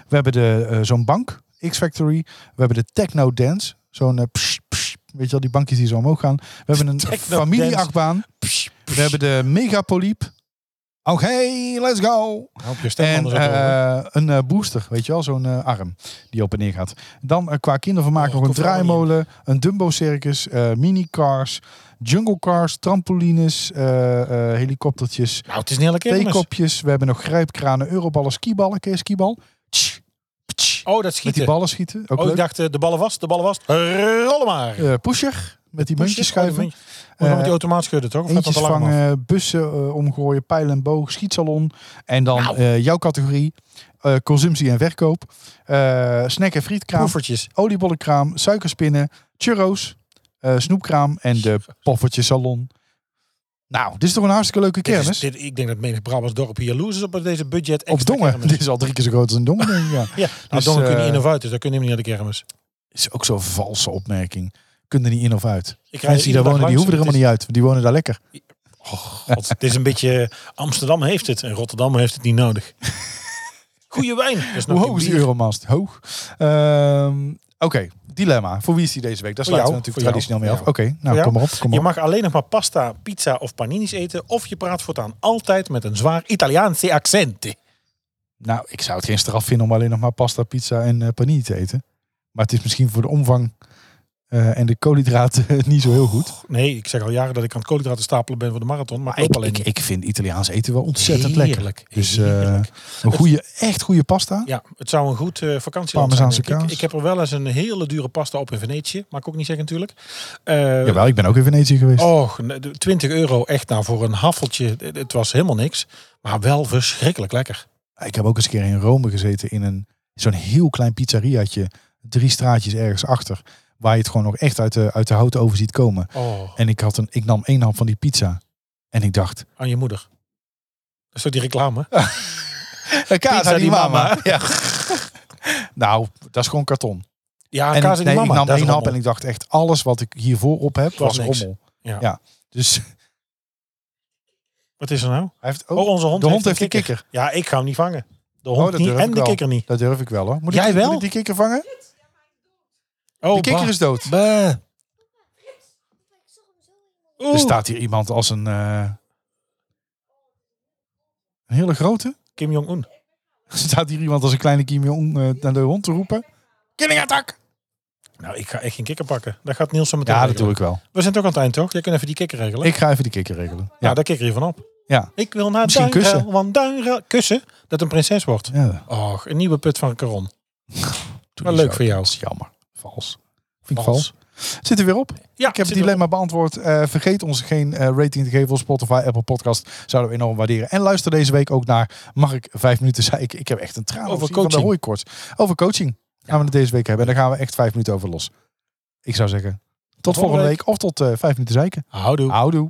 We hebben de, eh, zo'n bank, X-Factory. We hebben de techno dance, zo'n eh, psh, psh, weet je wel, die bankjes die zo omhoog gaan. We hebben een Techno familieachtbaan. We hebben de megapoliep. Oké, let's go. Hou op je stem En anders ook over. eh, een eh, booster, weet je wel, zo'n eh, arm die op en neer gaat. Dan eh, qua kindervermaak Oh, nog een komt er allemaal draaimolen, een Dumbo circus, eh minicars, jungle cars, trampolines, eh, eh, helikoptertjes, Nou, het is een hele kermis. theekopjes. We hebben nog grijpkranen, euroballen, skiballen. Ken je skibal? Tsch, tsch, Oh, dat Met die schieten. ballen schieten. Ook Oh, ik leuk. dacht, eh, de ballen was, de ballen was. Rollen maar. Eh, pusher, met die Oh, muntjes schuiven. Eh, Moet je nog met die automaat schudden, toch? Of gaat dat Eentjes al lang af? vangen, bussen eh, omgooien, pijl en boog, schietsalon. En dan Nou. eh, jouw categorie, eh, consumptie en verkoop. Eh, snack en frietkraam, Poefertjes. oliebollenkraam, suikerspinnen, churro's, eh, snoepkraam en de poffertjesalon. Nou, dit is toch een hartstikke leuke Dit is- kermis? dit- ik denk dat menig Brabants dorp hier jaloers is op deze budget. Op extra Dongen. kermis. Dit is al drie keer zo groot als een Dongen. denk ik, ja. Ja, nou, Dus, Dongen kun je eh, niet in of uit, dus daar kun je helemaal niet naar de kermis. is ook zo'n valse opmerking. Kunnen niet in of uit. Ik Mensen die daar wonen, die hoeven er helemaal niet uit. want Die wonen daar lekker. God, het is een beetje... eh, Amsterdam heeft het en Rotterdam heeft het niet nodig. Goeie wijn. Dat is nog Hoe geen hoog is de bier. Euromast? Hoog. Ehm, Oké, dilemma. Voor wie is die deze week? Daar Voor sluiten we natuurlijk jou, voor traditioneel mee jou, af. Oké, Voor nou jou? kom maar op. Kom Je maar op. mag alleen nog maar pasta, pizza of paninis eten. Of je praat voortaan altijd met een zwaar Italiaanse accent. Nou, ik zou het geen straf vinden om alleen nog maar pasta, pizza en eh panini te eten. Maar het is misschien voor de omvang eh, en de koolhydraten niet zo heel goed. Nee, ik zeg al jaren dat ik aan het koolhydraten stapelen ben voor de marathon. Maar, Maar ik, ook alleen ik, ik vind Italiaans eten wel ontzettend Heerlijk, lekker. Dus eh, heerlijk. een goede, echt goede pasta. Ja, het zou een goed eh vakantieland zijn, Parmezaanse denk ik. kaas. Ik heb er wel eens een hele dure pasta op in Venetië. Mag ik ook niet zeggen natuurlijk. Eh, Jawel, ik ben ook in Venetië geweest. Och, nee, de 20 euro echt nou voor een haffeltje. Het- Het was helemaal niks. Maar wel verschrikkelijk lekker. Ik heb ook eens een keer in Rome gezeten in een zo'n heel klein pizzeriaatje, drie straatjes ergens achter, waar je het gewoon nog echt uit de, uit de houten over ziet komen. Oh, En ik, had een, ik nam één hap van die pizza. En ik dacht... aan je moeder. Dat is toch die reclame? Pizza di mama. Ja. nou, dat is gewoon karton. Ja, en ik, kaas en die nee, mama. ik nam dat is één hap en rommel. ik dacht echt... alles wat ik hiervoor op heb, Was was, niks. rommel. Ja. Dus hij Wat is er nou? heeft ook... Oh, onze hond, de hond heeft heeft een de kikker. kikker. Ja, ik ga hem niet vangen. De hond Oh, dat niet durf en ik de wel. kikker niet. Dat durf ik wel hoor. Moet Jij ik, wel? Moet ik die kikker vangen? Oh, de kikker bah. is dood. Bah. Oeh. Er staat hier iemand als een... eh, een hele grote. Kim Jong-un. Er staat hier iemand als een kleine Kim Jong eh, naar de hond te roepen. Killing attack! Nou, ik ga echt geen kikker pakken. Dat gaat Niels zo meteen Ja, dat regelen. doe ik wel. We zijn toch aan het eind, toch? Jij kunt even die kikker regelen. Ik ga even die kikker regelen. ja, Ja, Nou, daar kikker je van op. ja. Ik wil naar Misschien Duinruil, kussen. want Duinruil... Kussen? Dat een prinses wordt. ja. Och, een nieuwe put van Caron. Toen Wel die leuk zo- voor jou. Dat is jammer. Vals. Vind ik Vals. vals. Zit er weer op? Ja, ik heb het zit er dilemma beantwoord. Eh, vergeet ons geen eh, rating te geven op Spotify, Apple Podcast. Zouden we enorm waarderen. En luister deze week ook naar Mag ik vijf minuten zeiken? Ik heb echt een traan Over over coaching. Van de coaching. hooikoorts. Over coaching gaan we het deze week hebben. En daar gaan we echt vijf minuten over los. Ik zou zeggen, tot volgende volgende week. Of tot eh, vijf minuten zeiken. Houdoe. Houdoe.